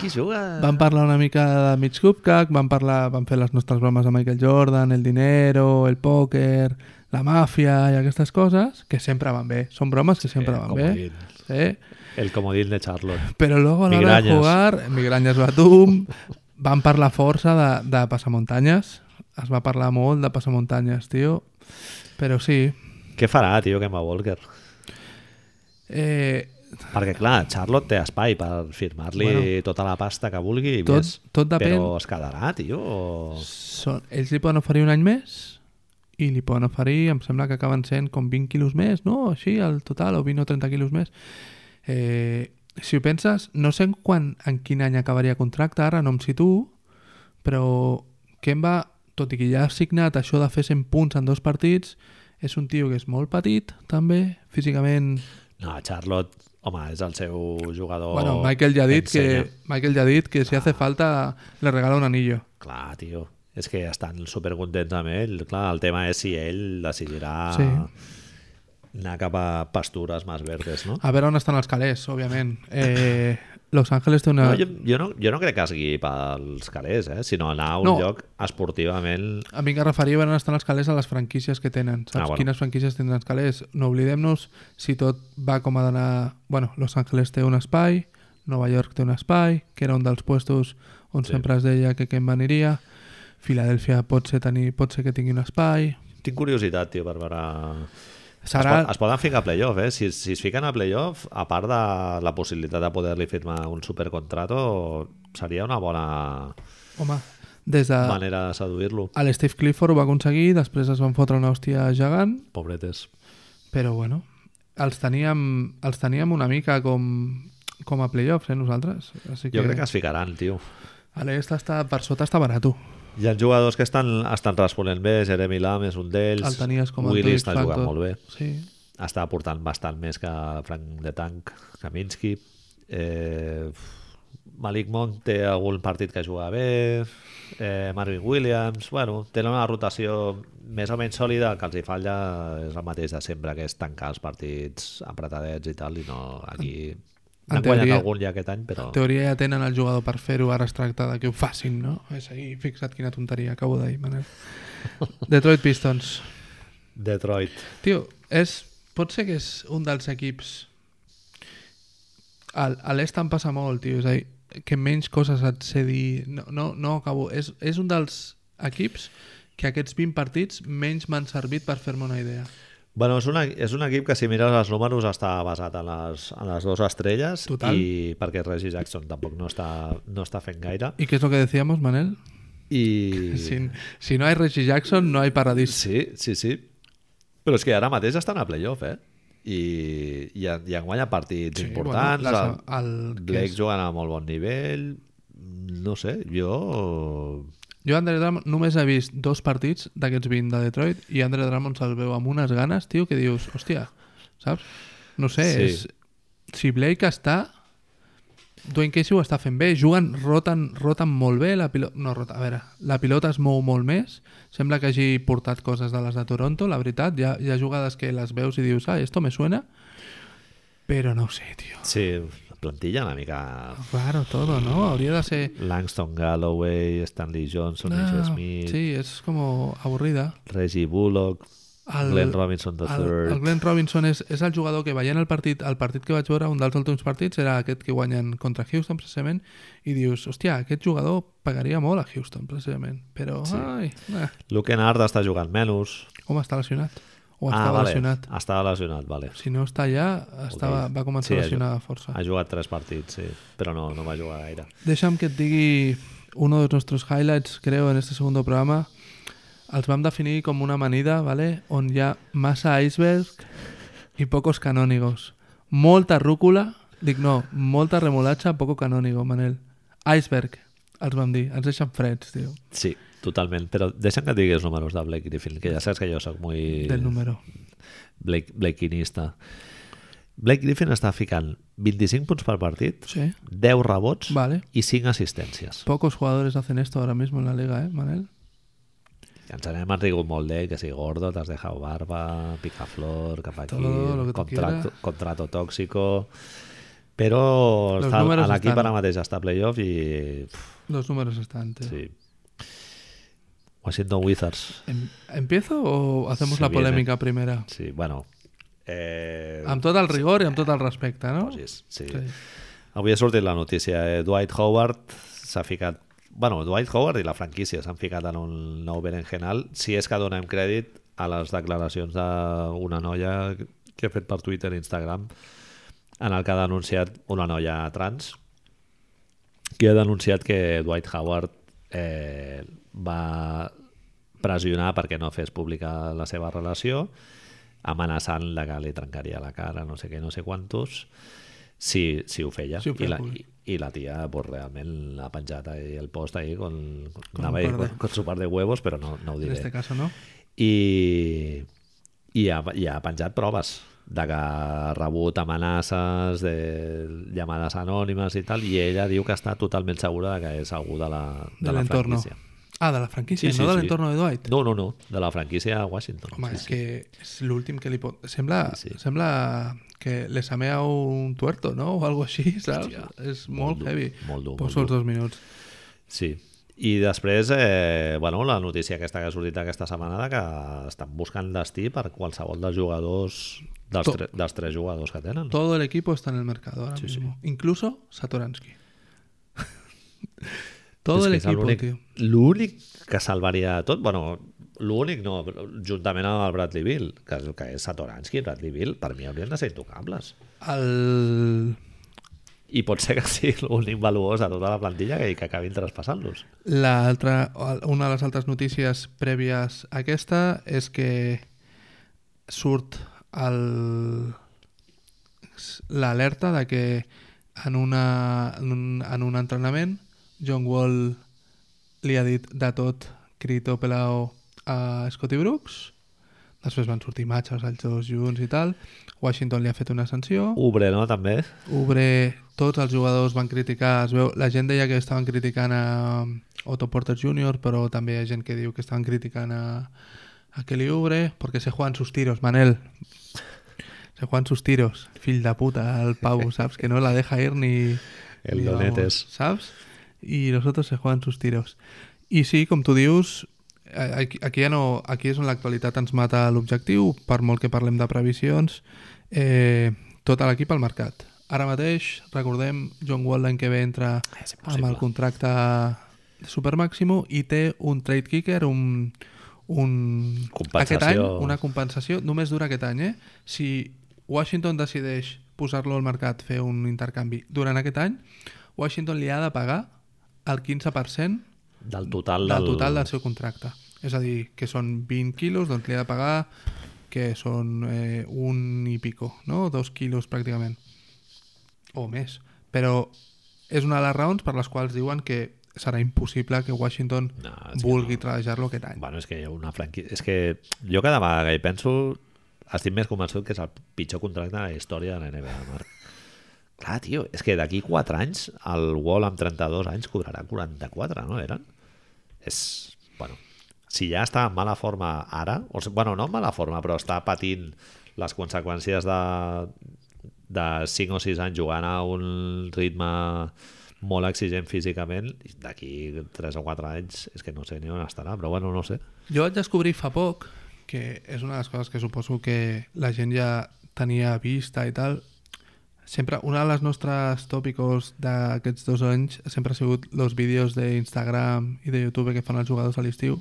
A: Qui juga?
B: Van parlar una mica de mig cupcake, van, parlar, van fer les nostres bromes a Michael Jordan, el dinero, el pòquer, la màfia i aquestes coses, que sempre van bé. Són bromes que sempre van bé.
A: comodín.
B: Eh?
A: El comodín de Charlotte.
B: Però luego a l'hora de
A: Migranyes.
B: jugar, migranyes batum, van parlar força de, de passamuntanyes. Es va parlar molt de passamuntanyes, tio. Però sí,
A: Què farà, tio, Kemba Walker?
B: eh,
A: Perquè, clar, Charlotte té espai per firmar-li
B: Bueno.
A: bueno, tota la pasta que vulgui i
B: Tot-
A: més.
B: tot depèn.
A: Però es quedarà, tio? O...
B: són, ells li poden oferir un any més i li poden oferir, em sembla que acaben sent com 20 quilos més, no? Així, al total, o 20 o 30 quilos més. Eh, si ho penses, no sé en quan, en quin any acabaria contracte, ara no em situo, però Kemba, tot i que ja ha signat això de fer 100 punts en dos partits, és un tio que és molt petit, també, físicament...
A: No, Charlotte, home, és el seu jugador...
B: bueno, Michael ja ha dit
A: ensenya.
B: que, Michael ja ha dit que si hace falta le regala un anillo.
A: Clar, tio, és que estan supercontents amb ell. Clar, el tema és si ell decidirà
B: Sí.
A: sí. anar cap a pastures més verdes, no?
B: A veure on estan els calés, òbviament. Eh, Los Angeles té una...
A: No, jo, jo, no, jo no crec que es guiï pels calés, eh? sinó anar a un
B: No.
A: no. lloc esportivament...
B: A mi que em referia a veure on estan els calés a les franquícies que tenen. Saps
A: Ah, bueno.
B: quines franquícies tindran els calés? No oblidem-nos si tot va com ha d'anar... Bueno, Los Angeles té un espai, Nova York té un espai, que era un dels puestos on sí. sempre es deia que Kemba aniria. Filadèlfia pot ser, tenir, pot ser que tingui un espai.
A: Tinc curiositat, tio, per veure...
B: Serà...
A: Es, po- es poden ficar a playoff, eh? Si, si es fiquen a playoff, a part de la possibilitat de poder-li firmar un supercontrato, seria una bona
B: Home, des de... Vale.
A: manera de seduir-lo.
B: El Steve Clifford ho va aconseguir, després es van fotre una hòstia gegant,
A: Pobretes.
B: Però bueno, els teníem, els teníem una mica com, com a playoffs, eh, nosaltres. Així que,
A: Jo crec que es ficaran, tio.
B: A l'est està, per sota està barat.
A: Hi ha jugadors que estan, estan responent bé, Jeremy Lam és un d'ells,
B: El tenies com a
A: Willy
B: Twix
A: està jugant
B: Factor.
A: molt bé,
B: Sí.
A: està aportant bastant més que Frank de Tank, Kaminski, eh, Malik Monk té algun partit que juga bé, eh, Marvin Williams, bueno, tenen una rotació més o menys sòlida, el que els hi falla és el mateix de sempre, que és tancar els partits apretadets i tal, i no aquí... N'han guanyat
B: teoria-
A: algun ja aquest any, però...
B: En teoria ja tenen el jugador per fer-ho, ara es tracta de que ho facin, no? És ahir, fixa't quina tonteria, acabo d'ahir, Manel. Detroit Pistons.
A: Detroit.
B: Tio, és, pot ser que és un dels equips... Al- A l'est em passa molt, tio, és a dir, que menys coses et sé dir... No, no, no acabo. És, és un dels equips que aquests 20 partits menys m'han servit per fer-me una idea.
A: Bueno, és, una, és un equip que si mires els números està basat en les, en les dues estrelles
B: Total.
A: i perquè Reggie Jackson tampoc no està, no està fent gaire
B: ¿Y qué es lo que decíamos, Manel?
A: i...
B: Si, si no hay Reggie Jackson, no hay Paradis.
A: Sí, sí, sí. Però és que ara mateix estan a playoff, eh? I, i, en- i en guanya partits
B: Sí,
A: importants.
B: bueno,
A: el,
B: les- el- que
A: Blake
B: és-
A: jugant a molt bon nivell. No sé, jo...
B: Jo, Andre Drummond, només he vist dos partits d'aquests 20 de Detroit i Andre Drummond se'l veu amb unes ganes, tio, que dius, hòstia, saps? No sé,
A: Sí.
B: sí. és... Si Blake està... Dwayne Casey ho està fent bé, juguen, roten, roten molt bé, la pilota... No, rota, a veure, la pilota es mou molt més, sembla que hagi portat coses de les de Toronto, la veritat, hi ha, hi ha jugades que les veus i dius, ah, esto me suena, però no ho sé, tio.
A: Sí, la plantilla una mica...
B: Claro, todo, ¿no? Hauria de ser...
A: Langston Galloway, Stanley Johnson, no,
B: Ah,
A: Smith...
B: sí, és com avorrida.
A: Reggie Bullock,
B: El,
A: Glenn Robinson the
B: el,
A: third.
B: el Glenn Robinson és, és el jugador que veient el partit, el partit que vaig veure, un dels últims partits, era aquest que guanyen contra Houston, precisament, i dius, hòstia, aquest jugador pagaria molt a Houston, precisament, però, sí. ai, eh,
A: Luke Kennard està jugant menys.
B: home, està lesionat. O està
A: Ah, vale.
B: lesionat.
A: Estava lesionat, vale.
B: Si no està allà, estava, va començar
A: Sí,
B: a lesionar a força.
A: Ha jugat tres partits, sí, però no, no va jugar gaire.
B: Déjame que te digui uno de nuestros highlights, creo, en este segundo programa. Els vam definir com una amanida, ¿vale? On hi ha massa iceberg i pocos canónigos. Molta rúcula, dic no, molta remolatxa, poco canónigo, Manel. Iceberg, els vam dir. Ens deixen freds, tio,
A: Sí, totalment. Però deixa'm que et digui els números de Blake Griffin, que ja saps que jo sóc muy...
B: del número.
A: Blake, Blakeinista. Blake Griffin està ficant 25 punts per partit,
B: Sí.
A: 10 rebots
B: Vale.
A: i 5 assistències.
B: Pocos jugadores hacen esto ahora mismo en la liga, ¿eh, Manel?
A: Ens n'hem rigut molt d'ell, que si gordo, t'has dejado barba, picaflor, cap aquí,
B: Todo lo que tú
A: contrato,
B: quieras.
A: contrato tóxico... Però
B: Los
A: està,
B: números
A: a l'equip
B: estan.
A: ara mateix està a playoff i... Pff,
B: Los números están, tío.
A: sí. Washington Wizards.
B: Em- ¿Empiezo o hacemos
A: Se
B: la
A: viene.
B: polémica primera?
A: Sí, bueno... Eh,
B: Amb tot el rigor i amb tot el respecte, no?
A: posis, sí.
B: Sí.
A: Avui ha sortit la notícia. Eh? Dwight Howard s'ha ficat... bueno, Dwight Howard i la franquícia s'han ficat en un nou berenjenal, si és que donem crèdit a les declaracions d'una noia que ha fet per Twitter i Instagram en el que ha denunciat una noia trans que ha denunciat que Dwight Howard eh, va pressionar perquè no fes pública la seva relació amenaçant de que li trencaria la cara no sé què, no sé quantos si, si ho feia
B: Si ho
A: I,
B: feia
A: la, i,
B: públic.
A: i la tia pues, realment l'ha penjat ahí el post ahí con, con,
B: Con
A: con,
B: un
A: ahí,
B: par de-
A: con, con su par de huevos però no, no ho
B: En
A: diré
B: este caso, ¿no?
A: i, i, ha, i ha penjat proves de que ha rebut amenaces de llamades anònimes i tal, i ella diu que està totalment segura de que és algú de la, de
B: Del
A: la
B: entorno.
A: franquícia.
B: Ah, de la franquicia,
A: Sí,
B: no
A: sí,
B: del
A: sí.
B: entorno de Dwight.
A: No, no, no, de la franquícia a Washington.
B: Home,
A: sí,
B: és
A: sí.
B: que és l'últim que li pot... Sembla,
A: Sí, sí.
B: sembla que les ha meat un tuerto, no? O algo així, saps? és molt,
A: molt dur,
B: heavy.
A: molt dur,
B: Poso
A: molt
B: els dos minuts.
A: Sí. I després, eh, bueno, la notícia aquesta que ha sortit aquesta setmana de que estan buscant destí per qualsevol dels jugadors, dels,
B: Tot.
A: tre, dels tres jugadors que tenen.
B: Todo el equipo está en el mercado ahora mismo. Incluso Satoransky. Todo
A: És
B: el
A: que és
B: equipo,
A: l'únic-
B: tío.
A: L'únic que salvaria de tot, bueno, l'únic no, però juntament amb el Bradley Bill, que, que és Satoransky i Bradley Bill, per mi haurien de ser intocables.
B: El...
A: I pot ser que sigui l'únic valuós de tota la plantilla que, que acabin traspassant-los.
B: L'altra, una de les altres notícies prèvies a aquesta és que surt el l'alerta de que en, una, en, un, en un entrenament John Wall li ha dit de tot Crito Pelao a Scotty Brooks després van sortir matxes els dos junts i tal Washington li ha fet una sanció
A: Ubre, no, també?
B: Eh, Ubre, tots els jugadors van criticar, es veu, la gent deia que estaven criticant a um, Otto Porter Jr., però també hi ha gent que diu que estaven criticant a, a Kelly Ubre, perquè se juegan sus tiros, Manel. Se juegan sus tiros, fill de puta, el pavo, saps? Que no la deja ir ni...
A: El
B: ni
A: Donetes.
B: ¿Sabes? Y los otros se juegan sus tiros. Y sí, com tu dius, eh, aquí, aquí ja no... Aquí és on l'actualitat ens mata l'objectiu, per molt que parlem de previsions, eh, tot l'equip al mercat. Ara mateix, recordem, John Wall l'any que ve entra
A: És
B: amb el contracte de supermàximo i té un trade kicker, un, un...
A: Compensació.
B: aquest any, una compensació, només dura aquest any, eh? Si Washington decideix posar-lo al mercat, fer un intercanvi durant aquest any, Washington li ha de pagar el 15%
A: Del total del...
B: del total del seu contracte. És a dir, que són 20 quilos, doncs li ha de pagar que són eh, un i pico, no? Dos quilos pràcticament. O més. Però és una de les raons per les quals diuen que serà impossible que Washington
A: No,
B: no,
A: és que
B: vulgui no. tradejar-lo aquest any.
A: Bueno, és que una franquícia... És que jo cada vegada que hi penso estic més convençut que és el pitjor contracte de la història de la NBA, Marc. Clar, tio, és que d'aquí 4 anys el Wall amb 32 anys cobrarà 44, no eren? És... Bueno, si ja està en mala forma ara, o si, bueno, no en mala forma, però està patint les conseqüències de, de 5 o 6 anys jugant a un ritme molt exigent físicament, d'aquí 3 o 4 anys és que no sé ni on estarà, però bueno, no sé.
B: Jo vaig descobrir fa poc que és una de les coses que suposo que la gent ja tenia vista i tal. Sempre, una de les nostres tòpicos d'aquests dos anys sempre ha sigut els vídeos d'Instagram i de YouTube que fan els jugadors a l'estiu.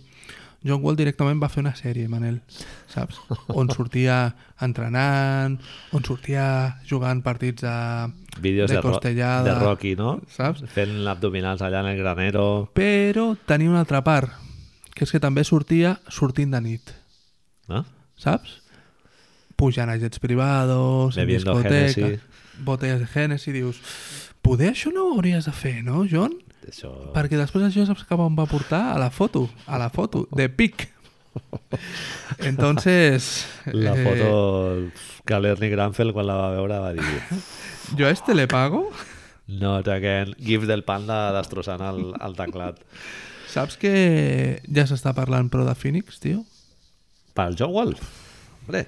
B: John Wall directament va fer una sèrie, Manel, saps? On sortia entrenant, on sortia jugant partits a...
A: Vídeos
B: De
A: de, ro
B: costellada.
A: de Rocky, no?
B: Saps?
A: Fent abdominals allà en el granero.
B: Però tenia una altra part, que és que també sortia sortint de nit.
A: No?
B: ¿sabes? Pujant a jets privados, en
A: Bebiendo
B: discoteca,
A: Hennessy.
B: botellas de Hennessy, dius, poder això no ho hauries de fer, no, John?
A: Això...
B: Perquè després això saps cap on va portar? A la foto, a la foto, de pic. Entonces,
A: La
B: eh,
A: foto que l'Ernie Granfeld quan la va veure va dir
B: jo a este le pago.
A: no, again, gif del panda destrossant el, el teclat.
B: Saps que ja s'està parlant però de Phoenix, tio?
A: Pel John Wall? Hombre.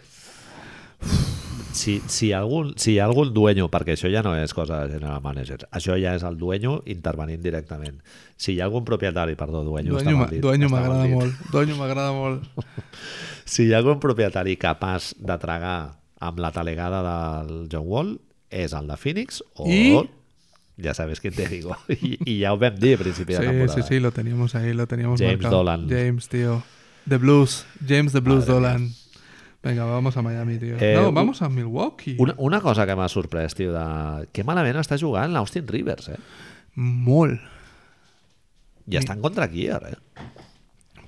A: Si, si, hi ha algun, si hi ha algun dueño, perquè això ja no és cosa de general manager, això ja és el dueño intervenint directament. Si hi ha algun propietari, perdó, dueño, està
B: Dueño
A: mal
B: ma-
A: dit,
B: dueño
A: està mal
B: m'agrada
A: dit.
B: molt, dueño m'agrada molt.
A: Si hi ha algun propietari capaç de tragar amb la talegada del John Wall, és el de Phoenix o...
B: I?
A: Ja sabes què te digo. I, I ja ho vam dir a principi de
B: Sí,
A: temporada.
B: sí, sí, lo teníamos ahí, lo teníamos
A: James
B: marcado.
A: Dolan.
B: James, tío. The Blues. James The Blues
A: Madre
B: Dolan. Venga, vamos a Miami, tío.
A: Eh,
B: no,
A: un-
B: vamos a Milwaukee.
A: Una, una cosa que m'ha sorprès, tio, de... que malament està jugant l'Austin Rivers, eh?
B: Molt,
A: I estan contra Kier, eh?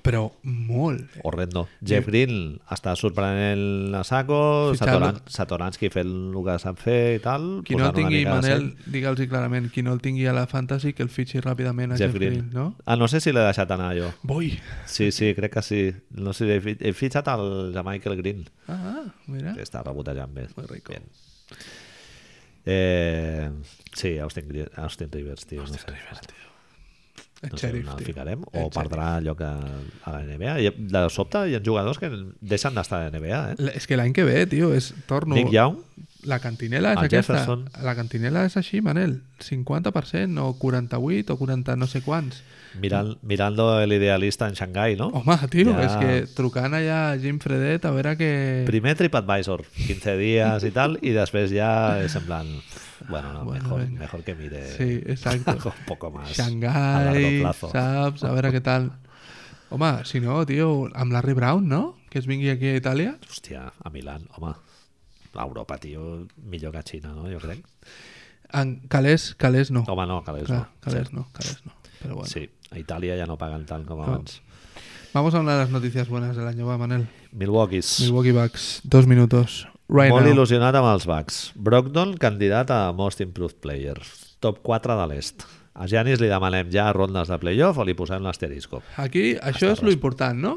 B: però molt.
A: Horrendo. Jeff Green està sorprenent a saco,
B: Fitxant-lo.
A: Satoran- Satoransky fent el que sap fer i tal.
B: Qui no el
A: posant una
B: tingui,
A: mica de
B: Manel, digue'ls clarament, qui no el tingui a la Fantasy, que el fitxi ràpidament
A: seny.
B: a Jeff, Green. no?
A: Ah, no sé si l'he deixat anar jo.
B: Voy.
A: Sí, sí, crec que sí. No sé, he, fi- he fitxat el de Michael Green,
B: Ah, ah, mira.
A: que està rebotejant bé.
B: Muy rico.
A: Eh, Bien. Eh, sí, Austin, Gri- Austin Rivers, tio. Austin no sé. Rivers, tio.
B: El
A: No sé on
B: sheriff,
A: el
B: tio.
A: ficarem,
B: El
A: o perdrà lloc a, a la NBA. I, de sobte hi ha jugadors que deixen d'estar a la NBA, eh?
B: La- És que l'any que ve, tio, és... Torno...
A: Nick Young,
B: La cantinela és
A: El
B: aquesta.
A: Jefferson.
B: La cantinela és així, Manel. 50% o 48 o 40 no sé quants.
A: mirant, mirando el idealista en Xangai, no?
B: Home, tio,
A: Ja.
B: és que trucant allà a Jim Fredet a veure que...
A: Primer TripAdvisor, 15 dies i tal, i després ja és en plan... Bueno, no,
B: Bueno,
A: mejor,
B: venga.
A: mejor que mire
B: Sí, exacto.
A: algo un poco más a largo
B: Xangai,
A: plazo.
B: saps? A veure què tal. Home, si no, tio, amb Larry Brown, no? Que es vingui aquí a Itàlia.
A: Hòstia, a Milán, home. A Europa, tio, millor que a Xina, no? Jo crec.
B: En Calés, Calés no.
A: Home, no, Calés
B: Clar,
A: no.
B: Calés no, Calés no. Però bueno.
A: Sí, a Itàlia ja no paguen tant com
B: No.
A: abans.
B: Vamos a una de les notícies bones de l'any, va, Manel.
A: Milwaukee's.
B: Milwaukee Bucks, dos minutos. Right
A: Molt
B: now.
A: il·lusionat amb els Bucks. Brogdon, candidat a Most Improved Player. Top 4 de l'est. A Giannis li demanem ja rondes de playoff o li posem l'asterisco.
B: Aquí, això és lo important, no?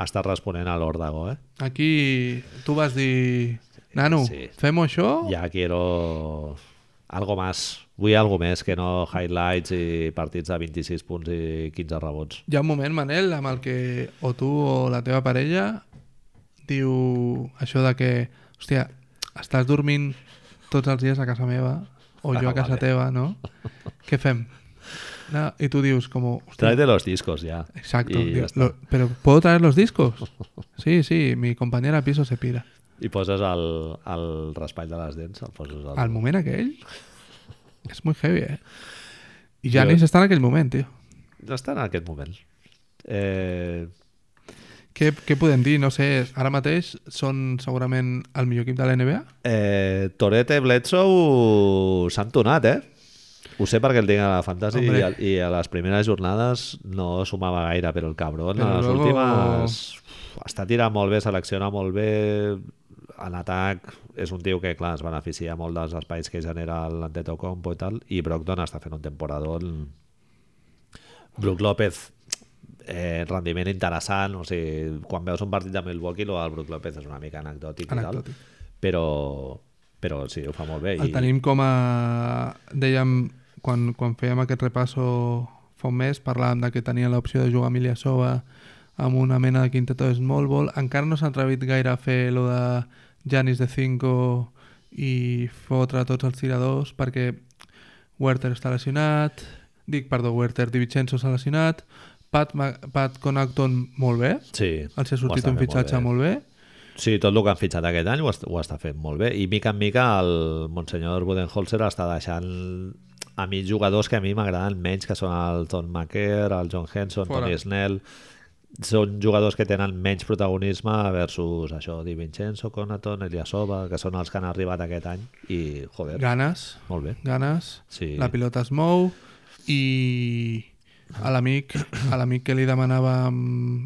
A: Està responent a l'Ordago, eh?
B: Aquí tu vas dir... Nano,
A: Sí.
B: fem-ho això
A: Ja quiero algo más. Vull algo més que no highlights i partits de 26 punts i 15 rebots.
B: Hi ha un moment, Manel, amb el que o tu o la teva parella diu això de que, hòstia, estàs dormint tots els dies a casa meva o jo a
A: Ah,
B: casa
A: vale.
B: teva, no? Què fem? No, I tu dius com... Hòstia,
A: Tráete los discos, ja.
B: exacto.
A: I,
B: Diu,
A: ja
B: lo,
A: lo...
B: ¿Pero puedo traer los discos? Sí, sí, mi compañera al piso se pira.
A: I poses el, el raspall de les dents. El poses al...
B: Al moment aquell és molt heavy, eh? I Janis està en aquell moment, tio.
A: No està en aquest moment. Eh,
B: Què, què podem dir? No sé, ara mateix són segurament el millor equip de la NBA?
A: Eh, Torete, Bledsoe s'han tonat, eh? Ho sé perquè el tinc a la Fantasy
B: Hombre.
A: i a, i a les primeres jornades no sumava gaire, però el cabrón
B: Però
A: a les
B: luego-
A: últimes uf, està tirant molt bé, selecciona molt bé en atac, és un tio que clar, es beneficia molt dels espais que genera l'Antetokounmpo i tal, i Brogdon està fent un temporadón Brook López eh, rendiment interessant, o sigui, quan veus un partit de Milwaukee, el Brook López és una mica anecdòtic, i
B: Anecdòtic.
A: tal, però, però sí, ho fa molt bé.
B: El tenim com a... Dèiem, quan, quan fèiem aquest repasso fa un mes, parlàvem de que tenia l'opció de jugar a Emilia Sova amb una mena de quinteto de small ball. Encara no s'ha atrevit gaire a fer lo de Janis de 5 i fotre tots els tiradors perquè Werther està lesionat, dic, perdó, Werther, Di Vincenzo s'ha lesionat, Pat, Ma- Pat Connaughton molt bé.
A: Sí,
B: Els ha
A: ho
B: sortit
A: està fent
B: un
A: molt
B: fitxatge
A: bé.
B: molt bé.
A: Sí, tot el que han fitxat aquest any ho, est ho està fent molt bé. I mica en mica el Monsenyor Budenholzer està deixant a mi jugadors que a mi m'agraden menys, que són el Tom Maker, el John Henson,
B: Fora.
A: Tony Snell... Són jugadors que tenen menys protagonisme versus això, Di Vincenzo, Conaton, Eliasova, que són els que han arribat aquest any i, joder,
B: Ganes,
A: molt bé.
B: ganes.
A: Sí.
B: La pilota es mou i a l'amic a l'amic que li demanàvem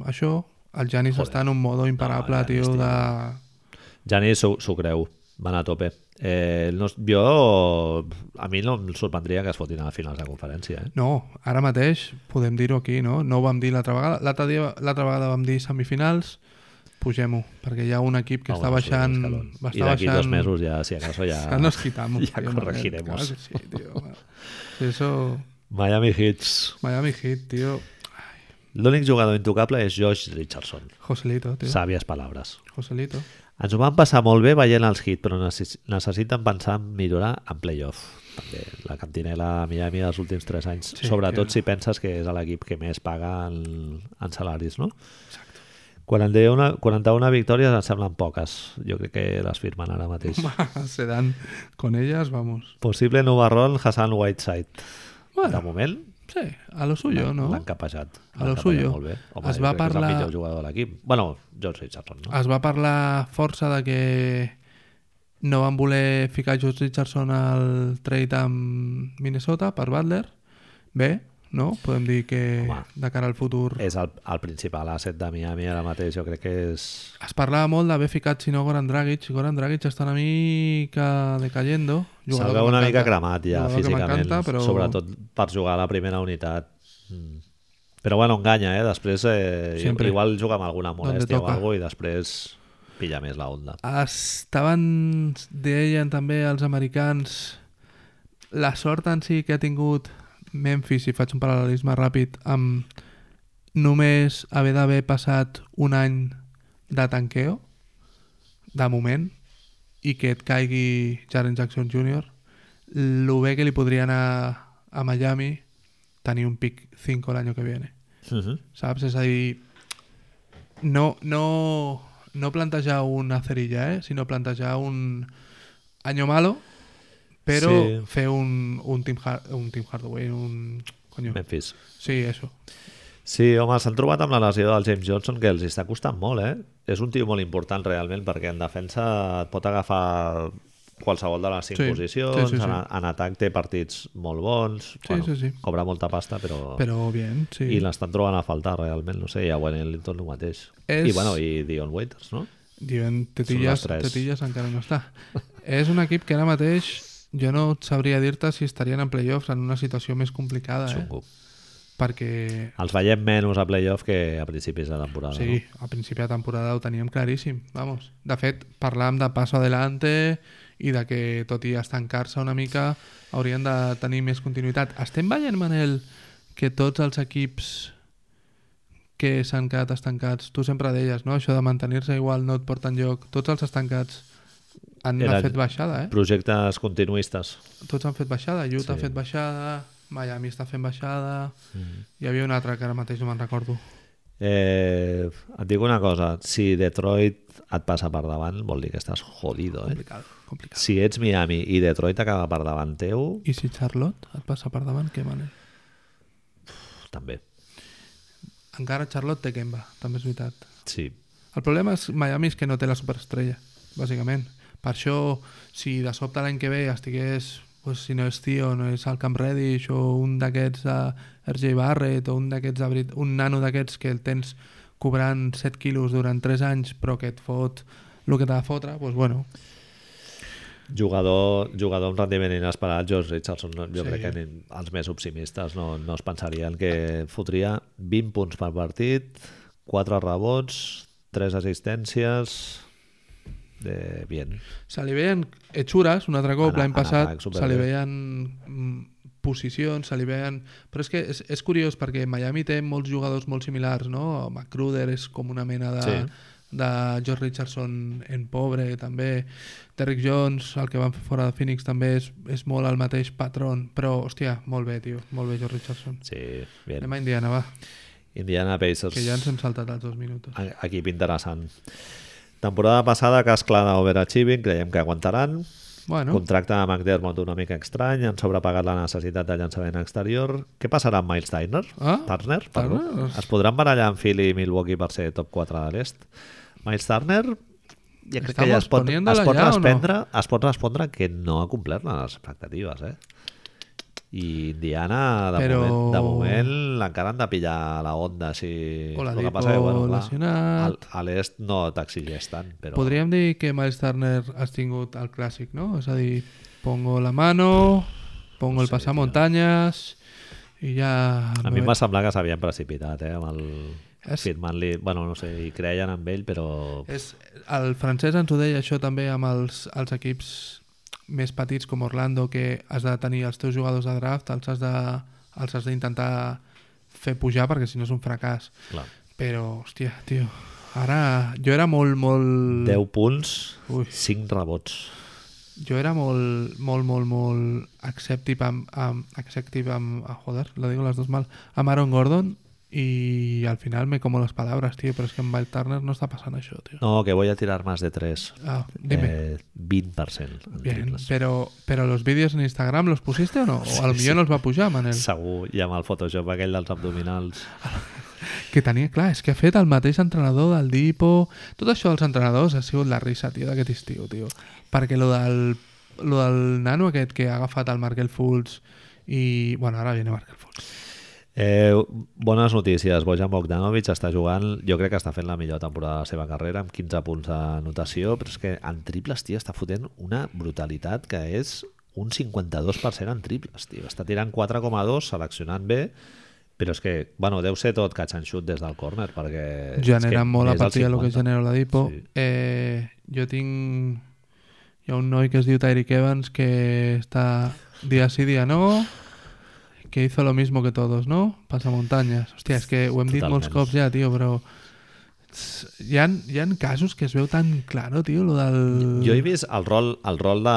B: això, el Janis
A: Joder.
B: està en un modo imparable,
A: No,
B: no,
A: el Giannis,
B: tio,
A: tio.
B: de...
A: Jani s'ho s'ho creu, va anar a tope. Eh, no, jo, a mi no em sorprendria que es fotin a finals de conferència, eh?
B: No, ara mateix podem dir-ho aquí, no? No ho vam dir l'altra vegada. L'altra dia- l'altra vegada vam dir semifinals, pugem-ho, perquè hi ha un equip que
A: Ah,
B: està
A: bueno, sí,
B: baixant...
A: l'escalón.
B: va
A: I
B: estar
A: d'aquí dos
B: baixant-
A: mesos ya, si acaso ya...
B: Ya nos quitamos.
A: ya
B: tío,
A: corregiremos.
B: claro que sí, tío. Si Eso,
A: Miami Hits.
B: Miami Heat, tío.
A: L'únic jugador intocable és Josh Richardson.
B: Joselito, tío.
A: Sàvies paraules.
B: Joselito.
A: Ens ho van passar molt bé veient els hits, però necess- necessiten pensar en millorar en playoff. També la cantinela a Miami dels últims 3 anys,
B: Sí,
A: sobretot
B: que-
A: si penses que és l'equip que més paga en, en salaris, no? Exacte. 41, 41 victòries em semblen poques. Jo crec que les firmen ara mateix.
B: Se dan con ellas, vamos.
A: Possible nubarrón Hassan Whiteside. De
B: Bueno,
A: moment,
B: sí, a lo suyo,
A: L'han-
B: ¿no?
A: L'han capejat.
B: A
A: L'han
B: lo
A: capejat
B: suyo.
A: Molt bé. Home,
B: Es
A: jo
B: va
A: crec que És
B: parlar- Ah,
A: el millor jugador de l'equip. Bueno, George Richardson, no?
B: Es va parlar força de que no van voler ficar Josh Richardson al trade amb Minnesota per Butler. Bé, no? Podem dir que
A: Home. Eh.
B: de cara al futur...
A: És el, el principal asset de Miami ara mateix. Jo crec que és...
B: Es parlava molt d'haver ficat, si no, Goran Dragic. Goran Dragic està una mica decayendo.
A: Se'l
B: Jugador
A: veu
B: que
A: una mica
B: m'encanta.
A: cremat ja
B: Jugador que
A: físicament,
B: m'encanta, però-
A: sobretot per jugar a la primera unitat. Mm. Però bueno, enganya, eh? Després eh,
B: Sempre.
A: igual juga amb alguna molèstia o
B: toca.
A: alguna i després pilla més la onda.
B: Estaven, deien també els americans, la sort en si que ha tingut Memphis, si faig un paral·lelisme ràpid, amb només haver d'haver passat un any de tanqueo, de moment, i que et caigui Jaren Jackson Jr., lo bé que li podria anar a Miami tenir un pic 5 l'any que viene.
A: Uh -huh.
B: Saps? És a dir, no, no, no plantejar una cerilla, eh? sinó plantejar un año malo, però
A: Sí.
B: sí. fer un, un, team hard, un Team Hardaway, un... Coño.
A: Memphis.
B: Sí, eso.
A: Sí, home, s'han trobat amb la lesió del James Johnson que els està costant molt, eh? És un tio molt important realment perquè en defensa et pot agafar qualsevol de les cinc
B: Sí,
A: posicions,
B: sí, sí, sí.
A: En, en atac té partits molt bons,
B: sí, sí.
A: cobra molta pasta però...
B: Però bien, sí.
A: I l'estan trobant a faltar realment, no sé, i a Wayne Ellington el mateix.
B: És-
A: I bueno, i Dion Waiters, no?
B: Diuen
A: les
B: tetilles,
A: tres.
B: tetilles encara no està. és un equip que ara mateix jo no et sabria dir-te si estarien en playoffs en una situació més complicada, eh?
A: Xungo.
B: Perquè
A: Els veiem menys a playoff que a principis de temporada,
B: Sí, a principi de temporada ho teníem claríssim, vamos. De fet, parlàvem de passo adelante i de que, tot i estancar-se una mica, haurien de tenir més continuïtat. Estem veient, Manel, que tots els equips que s'han quedat estancats, tu sempre deies, no? Això de mantenir-se igual no et porta lloc. Tots els estancats han
A: Era-
B: Era... fet baixada,
A: no?
B: eh?
A: Projectes continuistes.
B: Tots han fet baixada. Utah
A: Sí.
B: ha fet baixada, Miami està fent baixada...
A: Mm.
B: Hi havia un altre que ara mateix no me'n recordo.
A: Eh, et dic una cosa, si Detroit et passa per davant, vol dir que estàs jodido, eh?
B: Complicat, complicat.
A: Si ets Miami i Detroit acaba per davant teu,
B: I si Charlotte et passa per davant, què Manel?
A: pf, també.
B: Encara Charlotte té Kemba, també és veritat.
A: Sí.
B: El problema és Miami és que no té la superestrella, bàsicament. Per això, si de sobte l'any que ve estigués, pues, si no és Tio, no és el Camp Reddish, o un d'aquests de RJ Barrett, o un d'aquests de Brit... un nano d'aquests que el tens cobrant 7 quilos durant 3 anys, però que et fot el que t'ha de fotre, doncs bueno,
A: Jugador, jugador amb rendiment inesperat, George Richardson, no, jo sí.
B: Sí.
A: crec que ni- els més optimistes no, no es pensarien que fotria 20 punts per partit, 4 rebots, 3 assistències... Eh, bien.
B: Se li veien hechures, un altre cop,
A: En-
B: l'any
A: en
B: passat,
A: atac, superbé.
B: se li veien mm, posicions, se li veien... Però és que és, és curiós perquè Miami té molts jugadors molt similars, no? McCruder és com una mena de,
A: Sí.
B: de George Richardson en pobre, també. Derrick Jones, el que van fer fora de Phoenix, també és, és molt el mateix patró. Però, hòstia, molt bé, tio. Molt bé, George Richardson.
A: Sí, bien.
B: Anem a Indiana, va.
A: Indiana Pacers.
B: Que ja ens hem saltat els dos minuts.
A: A- Equip interessant. Temporada passada, cas clar d'overachieving, creiem que aguantaran.
B: Bueno,
A: No? Contracte de McDermott una mica estrany, han sobrepagat la necessitat de llançament exterior. Què passarà amb Miles Turner?
B: Ah,
A: Turner, perdó.
B: Turner. doncs.
A: Es podran barallar amb Philly i Milwaukee per ser top 4 de l'est? Miles Turner ja crec que ja
B: Estamos
A: es pot, es
B: poniéndola
A: pot,
B: ya o no?
A: respondre, es pot respondre que no ha complert les expectatives, eh? I Indiana, de,
B: Però-
A: moment, de moment, encara han de pillar la onda. Si...
B: O la
A: el que
B: Dipo
A: passa que, bueno, clar,
B: lesionat.
A: al- a l'est no t'exigeix tant, però...
B: podríem dir que Miles Turner has tingut el clàssic, no? És a dir, pongo la mano, pongo el passamuntanyes i ja...
A: A mi em va semblar que s'havien precipitat, eh, amb el...
B: És- Eh,
A: Firmant-li... Bueno, no sé, hi creien en ell, però...
B: És, el francès ens ho deia això també amb els, els equips més petits com Orlando, que has de tenir els teus jugadors de draft, els has de- els has d'intentar fer pujar perquè si no és un fracàs.
A: Clar,
B: Però, hòstia, tio, ara jo era molt, molt...
A: 10 punts,
B: Ui.
A: 5 rebots.
B: Jo era molt, molt, molt, molt acceptive amb... amb acceptive amb ah, joder, lo digo las dos mal. Amb Aaron Gordon i al final me como les palabras, tio, però és que amb Mike Turner no està passant això, tio.
A: No, que voy a tirar más de 3.
B: Ah, dime.
A: Eh, 20% en
B: Bien,
A: triples.
B: pero, pero los vídeos en Instagram los pusiste o no? O al millón los va a pujar, Manel.
A: Segur, i amb el Photoshop aquell dels abdominals.
B: Que tenia, clar, és que ha fet el mateix entrenador del Dipo... Tot això dels entrenadors ha sigut la risa, tio, d'aquest estiu, tio. Perquè lo del, lo del nano aquest que ha agafat el Markel Fultz i... Bueno, ara viene Markel Fultz.
A: Eh, bones notícies. Bojan Bogdanovic està jugant, jo crec que està fent la millor temporada de la seva carrera, amb 15 punts de notació, però és que en triples, tio, està fotent una brutalitat que és un 52% en triples, tio. Està tirant 4,2, seleccionant bé, però és que, bueno, deu ser tot catch and shoot des del córner, perquè... Eh, és
B: Genera
A: que
B: molt a
A: més del
B: partir del que
A: 50.
B: genera la Dipo.
A: Sí.
B: Eh, jo tinc... Hi ha un noi que es diu Tyreek Evans que està dia sí, dia no... que hizo lo mismo que todos, ¿no? Pasamontañas. Hòstia, és que ho hem dit molts
A: Totalment.
B: cops ja, tio, però... tss, Hi ha, hi ha casos que es veu tan claro, tio, lo del...
A: Jo he vist el rol, el rol de,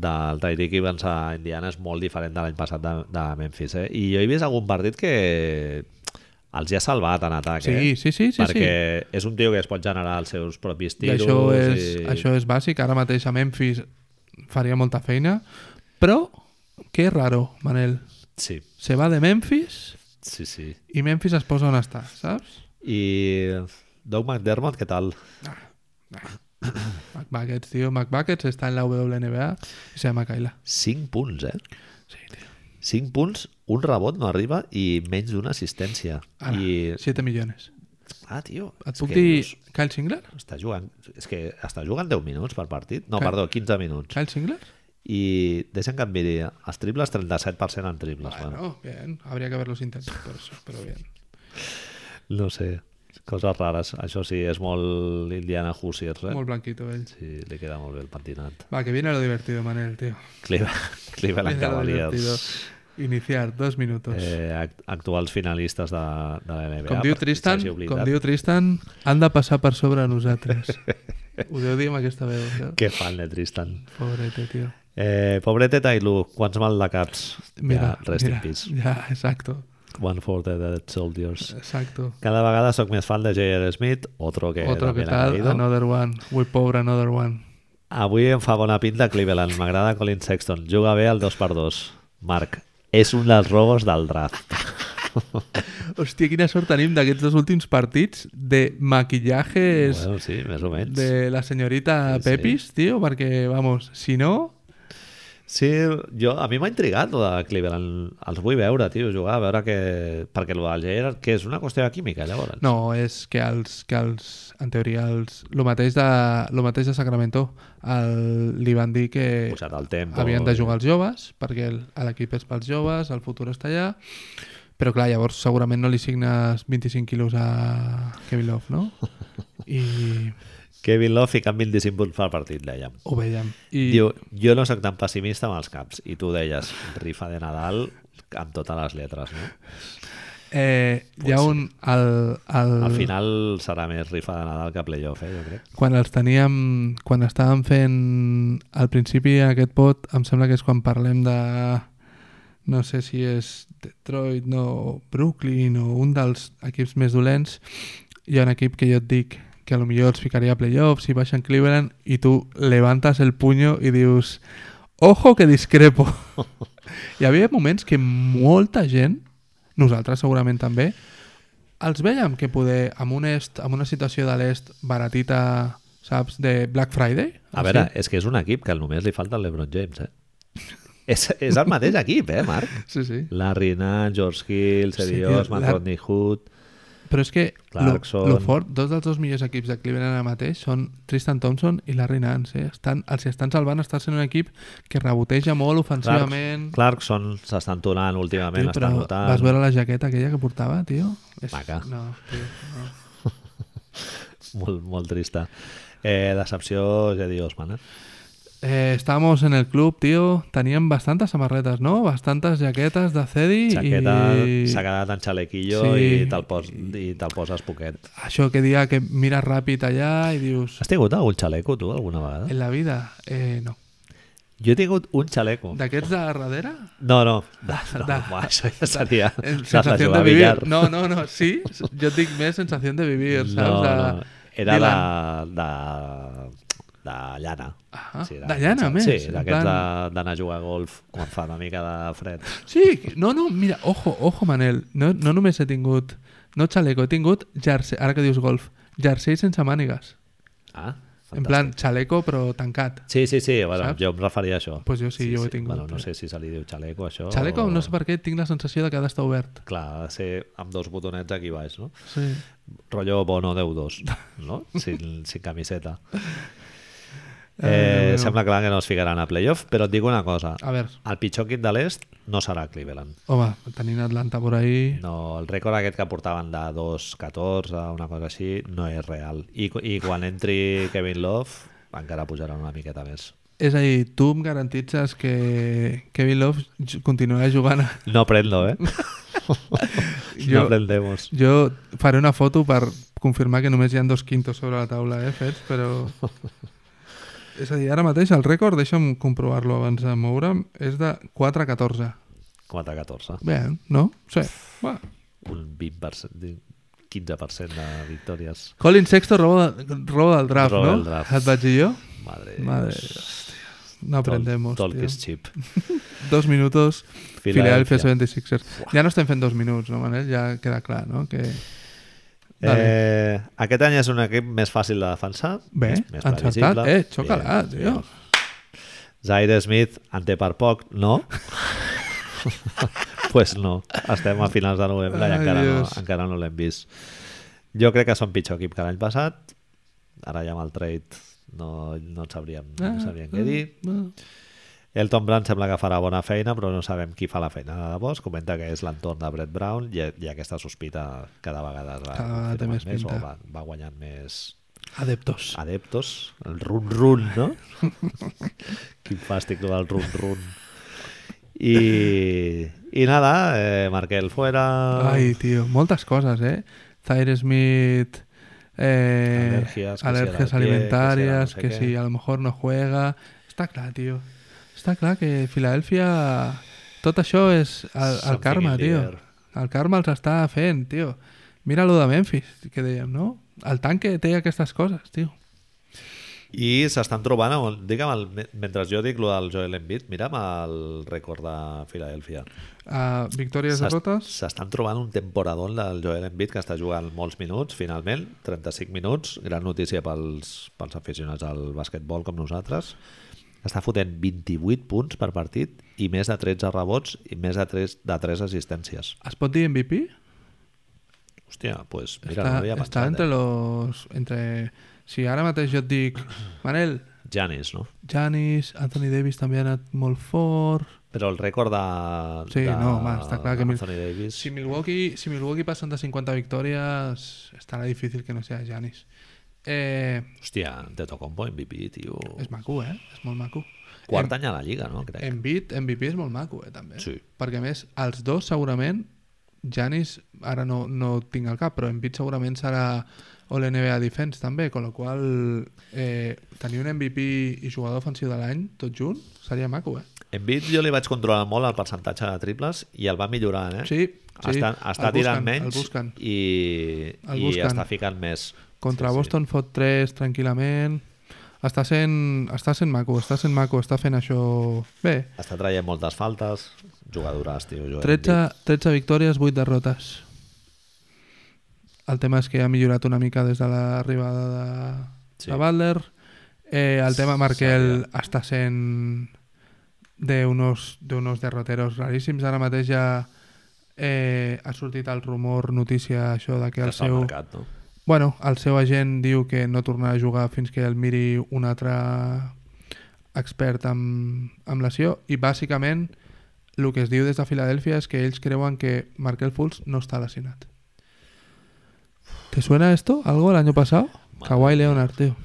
A: del Tyreek Evans a Indiana és molt diferent de l'any passat de, de Memphis, eh? I jo he vist algun partit que els hi ha salvat en atac,
B: Sí,
A: eh?
B: sí, sí, sí,
A: Perquè
B: sí.
A: és un tio que es pot generar els seus propis
B: I
A: tiros.
B: això és,
A: i...
B: això és bàsic. Ara mateix a Memphis faria molta feina, però que raro, Manel.
A: Sí,
B: Se va de Memphis
A: sí, sí.
B: i Memphis es posa on està, saps?
A: I Doug McDermott, què tal?
B: McBuckets, tio. McBuckets està en la WNBA i se llama Kaila.
A: 5 punts, eh?
B: Sí, tio.
A: 5 punts, un rebot no arriba i menys d'una assistència.
B: Ara,
A: I...
B: 7 milions.
A: Ah, tio.
B: Et
A: és
B: puc
A: que
B: dir
A: dius,
B: Kyle Singler?
A: Està jugant, és que està jugant 10 minuts per partit. No,
B: Clar.
A: perdó, 15 minuts.
B: Kyle Singler?
A: I deixen que em miri els triples, 37% en triples. Bueno,
B: Bueno, bien. Habría que verlos intentado por eso, pero bien.
A: no sé, coses rares. Això sí, és molt Indiana Hoosiers, eh?
B: Molt blanquito ell.
A: Sí, li queda molt bé el pentinat.
B: Va, que viene lo divertido, Manel, tío.
A: Clive- Cleveland
B: Viene lo divertido.
A: Cavaliers.
B: Iniciar dos minutos.
A: Eh, act- actuals finalistes de, de la NBA.
B: com diu
A: per qui
B: Tristan,
A: s'hagi oblidat.
B: com diu Tristan, han de passar per sobre a nosaltres. Ho deu dir amb aquesta veu, saps?
A: Què fan de Tristan?
B: Pobrete, tio.
A: Eh, pobrete Tailu, quants mal de caps?
B: Mira,
A: ja, rest
B: mira,
A: in peace.
B: Ja, exacto,
A: One for the dead soldiers.
B: exacto.
A: Cada vegada sóc més fan de J.R. Smith, otro que
B: Otro que
A: también ha
B: tal, Ah,
A: caído.
B: another one. Muy pobre, another one.
A: Avui em fa bona pinta Cleveland. M'agrada Colin Sexton. Juga bé al 2x2. Marc, és un dels rogos del draft.
B: Hòstia, quina sort tenim d'aquests dos últims partits de maquillatges
A: Bueno, sí, més o menys. De...
B: de la senyorita
A: Sí, sí.
B: Pepis, tio, perquè, vamos, si no...
A: Sí, jo, a mi m'ha intrigat el de Cleveland. Els vull veure, tio, jugar, a veure que... Perquè el del Jair, que és una qüestió de química, llavors.
B: No, és que els, que els en teoria, els, lo, mateix de, lo mateix de Sacramento, el, li van dir que
A: Posat el tempo.
B: eh, havien de jugar els joves, perquè el- a l'equip és pels joves, el futur està allà, però clar, llavors segurament no li signes 25 quilos a Kevin Love, no? I
A: Kevin Love ficant 25 punts per partit, dèiem.
B: ho veiem. I
A: Diu, jo no sóc tan pessimista amb els caps. I tu deies, rifa de Nadal amb totes les lletres, no?
B: eh, hi ha un... El, el,
A: Al final serà més rifa de Nadal que playoff, eh, jo crec.
B: quan els teníem, quan estàvem fent al principi aquest pot, em sembla que és quan parlem de no sé si és Detroit no, Brooklyn o un dels equips més dolents hi ha un equip que jo et dic que a lo millor els ficaria a playoffs i baixen Cleveland i tu levantes el puño i dius ojo que discrepo hi havia moments que molta gent nosaltres segurament també els vèiem que poder amb, un est, amb una situació de l'est baratita saps, de Black Friday
A: A veure, és que és un equip que només li falta el LeBron James, eh? És, és el mateix equip, eh, Marc?
B: sí, sí.
A: Larry Nance, George Hill,
B: Sí,
A: Seriós, sí,
B: tio,
A: Matt
B: la-
A: Rodney Hood...
B: Però és que lo,
A: Clarkson.
B: lo fort, dos dels dos millors equips de Cleveland ara mateix són Tristan Thompson i Larry Nance. Eh? Estan, els estan salvant estar sent un equip que reboteja molt
A: Clark,
B: ofensivament.
A: Clarkson s'està entonant últimament,
B: tio,
A: està
B: però
A: notant...
B: vas veure la jaqueta aquella que portava, tio? És...
A: Maca.
B: No, tio, no.
A: Molt, molt trista. Eh, decepció, ja diu Osman, eh?
B: Eh, estábamos en el club, tío. Tenían bastantes samarretas, ¿no? Bastantes jaquetas de Cedi.
A: Jaqueta,
B: i...
A: s'ha quedat en xalequillo sí,
B: Sí.
A: i te'l pos, i te'l poses poquet.
B: Això que dia que miras ràpid allà i dius...
A: Has tingut algun xaleco, tu, alguna vegada?
B: En la vida, eh, no.
A: Jo he tingut un xaleco.
B: D'aquests de darrere?
A: No, no, no, no
B: de-
A: buah, això ja seria...
B: Eh,
A: Saps, la
B: sensación
A: jugada
B: de
A: a
B: vivir.
A: billar.
B: No, no, no, sí. Jo et dic més sensació de vivir, saps?
A: No,
B: De...
A: no. Era
B: Dylan.
A: de, de, de llana.
B: Ah, de llana, a més,
A: Sí,
B: en
A: d'aquests
B: plan-
A: de- d'anar a jugar a golf quan fa una mica de fred.
B: Sí, no, no, mira, ojo, ojo, Manel. No, no només he tingut... No xaleco, he tingut jersey, ara que dius golf, jersei sense mànigues.
A: Ah, fantàstic.
B: En plan, xaleco però tancat.
A: Sí, sí, sí, bueno,
B: Saps?
A: jo em referia a això.
B: Pues jo sí, jo ho he tingut,
A: Bueno, no
B: eh?
A: sé si se li diu xaleco, això.
B: Xaleco,
A: o-
B: no sé per què, tinc la sensació de que ha d'estar obert.
A: Clar, ha de ser amb dos botonets aquí baix, no?
B: Sí.
A: Rollo Bono 10-2, no? Sin, sin camiseta.
B: Déu
A: Eh,
B: meu. Ah.
A: sembla clar que no es ficaran a playoff, però et dic una cosa.
B: A veure,
A: El pitjor equip de l'est no serà Cleveland.
B: home, tenint Atlanta por ahí...
A: No, el rècord aquest que portaven de 2-14, una cosa així, no és real. I, cu- I quan entri Kevin Love, encara pujaran una miqueta més.
B: És a dir, tu em garantitzes que Kevin Love j- continuarà jugant... a-
A: No prendo, eh?
B: Jo-
A: No prendemos.
B: Jo faré una foto per confirmar que només hi han dos quintos sobre la taula, eh, fets, però... És a dir, ara mateix el rècord, deixa'm comprovar-lo abans de moure'm, és de 4-14.
A: 4-14.
B: Bé, no? Sí. Va.
A: Un 20%, 15% de victòries.
B: Colin Sexto roba, roba del draft,
A: Roba
B: no?
A: del draft.
B: Et vaig dir jo?
A: Madre,
B: Madre, No aprendemos,
A: Talk,
B: tio.
A: talk is cheap.
B: Dos minutos,
A: Philadelphia.
B: Philadelphia 76ers. Ja no estem fent dos minuts, no, Manel? Ja queda clar, no? Que... Dale.
A: Eh, aquest any és un equip més fàcil de defensar.
B: Bé,
A: més, més previsible.
B: encertat. Eh, xoca-la,
A: Bien,
B: tio.
A: bien. Zaire Smith en té per poc, no? pues no, estem a finals de novembre i
B: Ai,
A: encara no,
B: Dios.
A: encara no l'hem vist. Jo crec que són pitjor equip que l'any passat. Ara ja amb el trade no, no en sabríem, no sabríem què dir.
B: ah.
A: Elton Brand sembla que farà bona feina, però no sabem qui fa la feina de debò. Es comenta que és l'entorn de Brett Brown i, i aquesta sospita cada vegada es va
B: Cada vegada té
A: confirmant
B: més
A: més o
B: pinta.
A: va, va guanyant més,
B: Adeptos.
A: adeptos, el run-run, no? Quin fàstic no, el run-run. I, I nada, eh, Markel fuera,
B: Ai, tio, moltes coses, eh? Zaire Smith, eh,
A: Al·lèrgies, que si
B: al·lèrgies
A: del pie,
B: alimentàries,
A: que si del no sé
B: que,
A: què.
B: si a lo mejor no juega... Està clar, tio. Està clar que Filadèlfia... Tot això és el, el
A: Something
B: karma,
A: in the
B: tio.
A: air.
B: El karma els està fent, tio. Mira lo de Memphis, que dèiem, no? El tanque té aquestes coses, tio.
A: i s'estan trobant, amb, digue'm, el, me- mentre jo dic lo del Joel Embiid, mira'm el rècord de Filadèlfia.
B: Uh, victòries,
A: S'est-
B: derrotes...
A: S'estan trobant un temporadón del Joel Embiid que està jugant molts minuts, finalment, 35 minuts, gran notícia pels, pels aficionats al basquetbol com nosaltres. Està fotent 28 punts per partit i més de 13 rebots i més de 3, de 3 assistències.
B: Es pot dir MVP?
A: Hòstia, doncs pues, mira,
B: està,
A: no havia pensat.
B: està
A: eh?
B: entre
A: Entre...
B: los... Entre... Si ara mateix jo et dic, Manel,
A: Eh? Janis, no?
B: Janis, Anthony Davis també ha anat molt fort.
A: Però el rècord de...
B: Sí,
A: de
B: no, home, està clar que mil-
A: Anthony Davis...
B: Si Milwaukee, si Milwaukee passen de 50 victòries, estarà difícil que no sigui Janis. Eh,
A: Hòstia, Antetokounmpo MVP, tio.
B: és maco, eh? És molt maco.
A: Quart any a la Lliga, no? Crec.
B: Embiid, MVP és molt maco, eh, també.
A: Sí.
B: Perquè, a més, els dos segurament, Janis, ara no, no ho tinc al cap, però Embiid segurament serà All-NBA Defense, també, con la qual eh, tenir un MVP i jugador ofensiu de l'any, tot junt, seria maco, eh?
A: Embiid jo li vaig controlar molt el percentatge de triples i el va millorant, eh?
B: Sí, sí.
A: Està, està
B: El
A: tirant
B: busquen, el
A: menys
B: busquen.
A: i,
B: El
A: i
B: busquen.
A: està ficant més.
B: Contra Boston fot 3 tranquil·lament. Està sent, està sent maco, està sent maco, està fent això bé.
A: Està traient moltes faltes, jugadores, tio. Jo
B: 13, 13 victòries, 8 derrotes. El tema és que ha millorat una mica des de l'arribada de,
A: Sí.
B: sí. de Butler. Eh, el tema Markel està sent de unos, de unos derroteros raríssims. Ara mateix ja eh, ha sortit el rumor, notícia, això de que
A: que
B: el
A: està al
B: seu...
A: mercat, no?
B: Bueno, el seu agent diu que no tornarà a jugar fins que el miri un altre expert amb, amb lesió i bàsicament el que es diu des de Filadèlfia és que ells creuen que Markel Fultz no està lesionat. ¿Te suena esto? ¿Algo el año pasado? Kawhi Leonard, tío.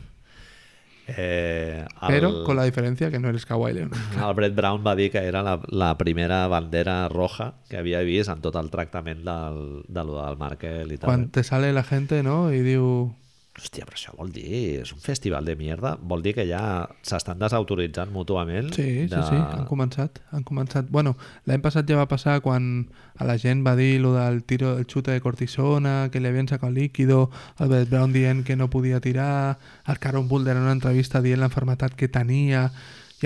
A: Eh, el,
B: Pero con la diferencia que no eres Kawhi Leonard.
A: el Brett Brown va dir que era la, la primera bandera roja que havia vist en tot el tractament del, de lo del Markel i tal.
B: Quan te sale la gente, no?, i diu...
A: Hòstia, però això vol dir... És un festival de mierda. Vol dir que ja s'estan desautoritzant mútuament. de...
B: Sí, sí, sí, han començat, han començat. Bueno, l'any passat ja va passar quan a la gent va dir lo del tiro, el xute de cortisona, que li havien sacat líquido, el Brett Brown dient que no podia tirar, el Caron Boulder en una entrevista dient l'enfermetat que tenia,